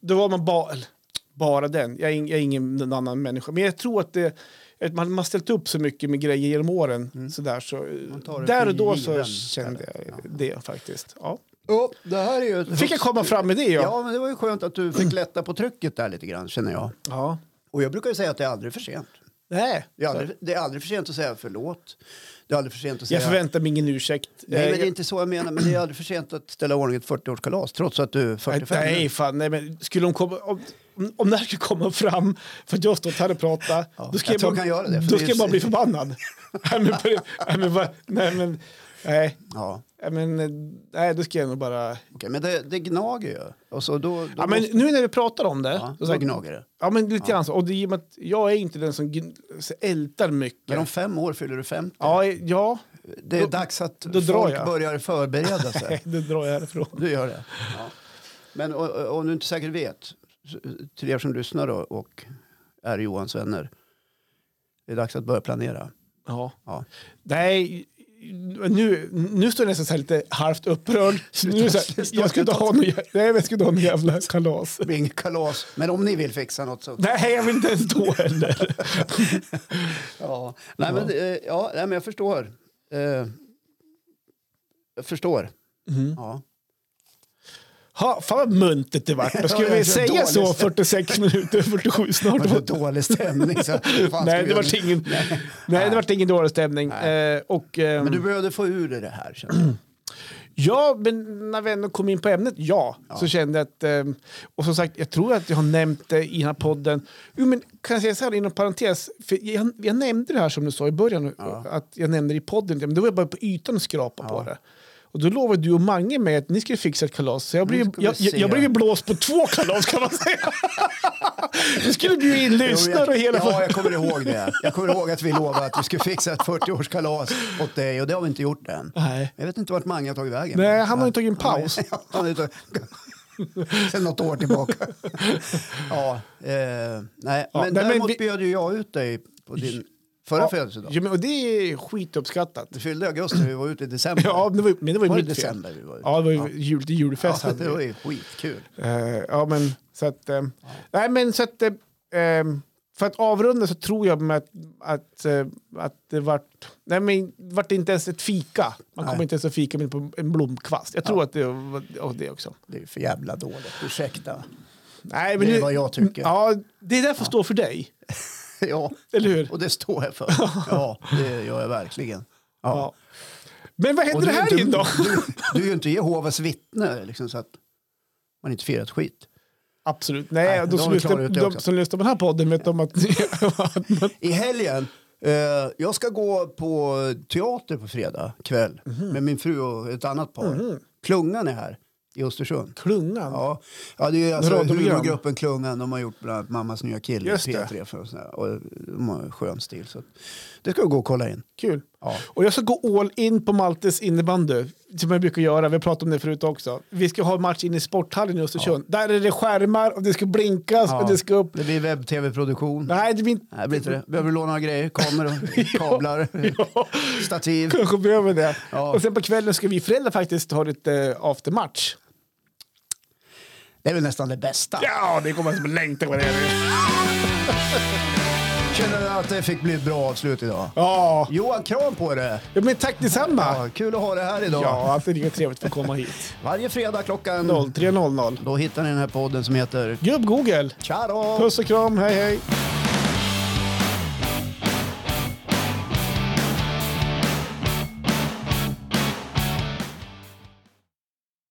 Då var man bara, bara den. Jag är, ing, jag är ingen någon annan människa, men jag tror att det att man man har ställt upp så mycket med grejer genom åren. Så där, så,
Mm. Man tar det
där
för
och då så
given,
kände
eller?
jag det faktiskt. Ja.
Ja, det här är ju...
Fick jag komma fram med det? Ja.
Ja, men det var ju skönt att du fick lätta på trycket där lite grann känner jag.
ja.
Och jag brukar ju säga att det är aldrig för sent.
Nej.
Det är aldrig, det är aldrig för sent att säga förlåt. Det är aldrig för sent att säga...
Jag förväntar mig ingen ursäkt.
Nej, men
Eh,
det är inte så jag menar. Men det är aldrig för sent att ställa i ordning ett 40-årskalas trots att du är 45 nu.
Nej, fan, nej, men skulle hon komma... Om, om- om det här skulle komma fram för att jag har stått här och pratat,
Ja,
då ska
jag
jag,
tror
bara,
jag kan göra det, för det
då ska
är-
jag bara bli förbannad. nej, men, på det- nej, men, vad- nej, men, nej,
Ja,
nej, men, eh, nej, då ska jag nog bara...
okej. Men det, det gnager ju. Och så då... då
Ja, men nu när vi pratar om det,
ja,
så
då
sagt,
gnager det.
ja, men lite grann så. Och det, är i och med att jag är inte den som gn- så ältar mycket.
Men om fem år fyller du 50.
Ja, ja,
det är
då-
dags att
då
folk
drar jag.
börjar förbereda sig.
nej, det drar jag härifrån.
Du gör det. Ja. Men o- o- om du inte säkert vet, så- till er som lyssnar då, och är Johans vänner, det är dags att börja planera.
Ja.
Ja.
Nej, nu, nu står jag nästan så här lite halvt upprörd. nu är det så här,
sluta,
jag skulle inte ha någon, jä- nej, men jag skulle inte ha någon jävla kalas.
Det blir inget kalas, men om ni vill fixa något så...
Nej, jag vill inte ens då heller.
Ja, nej, men, eh, ja, nej, men jag förstår. Eh, jag förstår. Ja.
Ha, fan vad muntert det vart. Då
Ja,
Skulle
jag är
vi
så
säga
dålig
så
stämning.
46 minuter, 47 snart?
Det var dålig stämning. Så, fan, ska
Nej,
vi
det
göra-
vart ingen, nej, det vart ingen dålig stämning. Eh, och, ehm,
Men du behövde få ur dig det här. känner jag.
Ja, men när vi ändå kom in på ämnet, ja, så kände jag att... ehm, Och som sagt, jag tror att jag har nämnt det i den här podden. Jo, men kan jag säga så här inom parentes? För jag, jag nämnde det här som du sa i början, att jag nämnde det i podden, men då var jag bara på ytan och skrapa på det. Och då lovade du och Mange mig att ni skulle fixa ett kalas, så jag blev,
Nu ska vi
jag, jag,
se.
jag blev ju blåst på två kalas kan man säga. Nu skulle bjuda in lyssnare och hela...
ja, jag kommer ihåg det. Jag kommer ihåg att vi lovade att vi skulle fixa ett 40-årskalas åt dig och det har vi inte gjort än.
Nej.
Jag vet inte vart Mange har tagit vägen.
Nej, han har ju tagit en paus.
Han har ju tagit- Sen något år tillbaka. Ja, eh, nej,
Ja,
men
nej, men
däremot
vi-
bjöd ju jag ut dig på din förra födelsedag.
Ja, men, och det är skituppskattat.
Du fyllde i augusti, vi var ute i december.
Ja, det var, ju- men det var ju
var det
mitt fel.
december vi var ute?
Ja, det var ju jul, det är julfest.
Ja,
hade
det var
vi.
ju skitkul.
Eh, ja, men så att... eh, Nej, men så att... eh, eh, för att avrunda så tror jag med att, att, eh, att det vart... Nej, men det vart inte ens ett fika. Man kommer
Nej.
inte ens att fika med på en blomkvast. Jag tror att det var och det också.
Det är för jävla dåligt, ursäkta.
Nej,
Det är
nu-
vad jag tycker.
Ja, det är därför jag står för dig.
Ja,
Eller hur?
och det står jag för. Ja, det gör jag verkligen. Ja.
Ja. Men vad
Och
händer
är
här
inte-
inne då?
Du, du är ju inte Jehovas vittne, liksom, så att man inte firar ett skit.
Absolut. Nej,
Nej,
de,
de
som
klarar
lyssnar,
ut det
de
också.
som lyssnar på den här podden vet om att... att man,
I helgen, eh, jag ska gå på teater på fredag kväll
Mhm.
med min fru och ett annat par. Klungan är här i Östersund.
klungan.
Ja, ja det är alltså
Radioprogram.
humorgruppen Klungan. De har gjort bland annat Mammas nya kille,
Just det.
P3 för och sådär. Och de har en skön stil. Så att det ska jag gå och kolla in.
Kul.
Ja.
Och jag ska gå all in på Maltes innebandy, som jag brukar göra. Vi har pratat om det förut också. Vi ska ha match inne i sporthallen i Östersund. Där är det skärmar och det ska blinkas och det ska upp.
Det blir webb-tv-produktion. Nej.
Nej, det blir inte...
det blir inte det. Behöver du låna några grejer? Kameror, kablar, stativ.
Kanske behöver det.
Ja.
Och sen på kvällen ska vi föräldrar faktiskt ha lite eh, aftermatch.
Det är väl nästan det bästa.
Ja, det kommer jag som längtar på det.
Känner du att det fick bli ett bra avslut idag?
Ja,
Johan, kram på det!
Ja, men tack detsamma.
Ja, kul att ha det här idag.
Ja, alltid lika trevligt att få komma hit.
Varje fredag klockan
03.00.
Då hittar ni den här podden som heter
Gubb-Google.
Tja då!
Puss och kram, hej hej.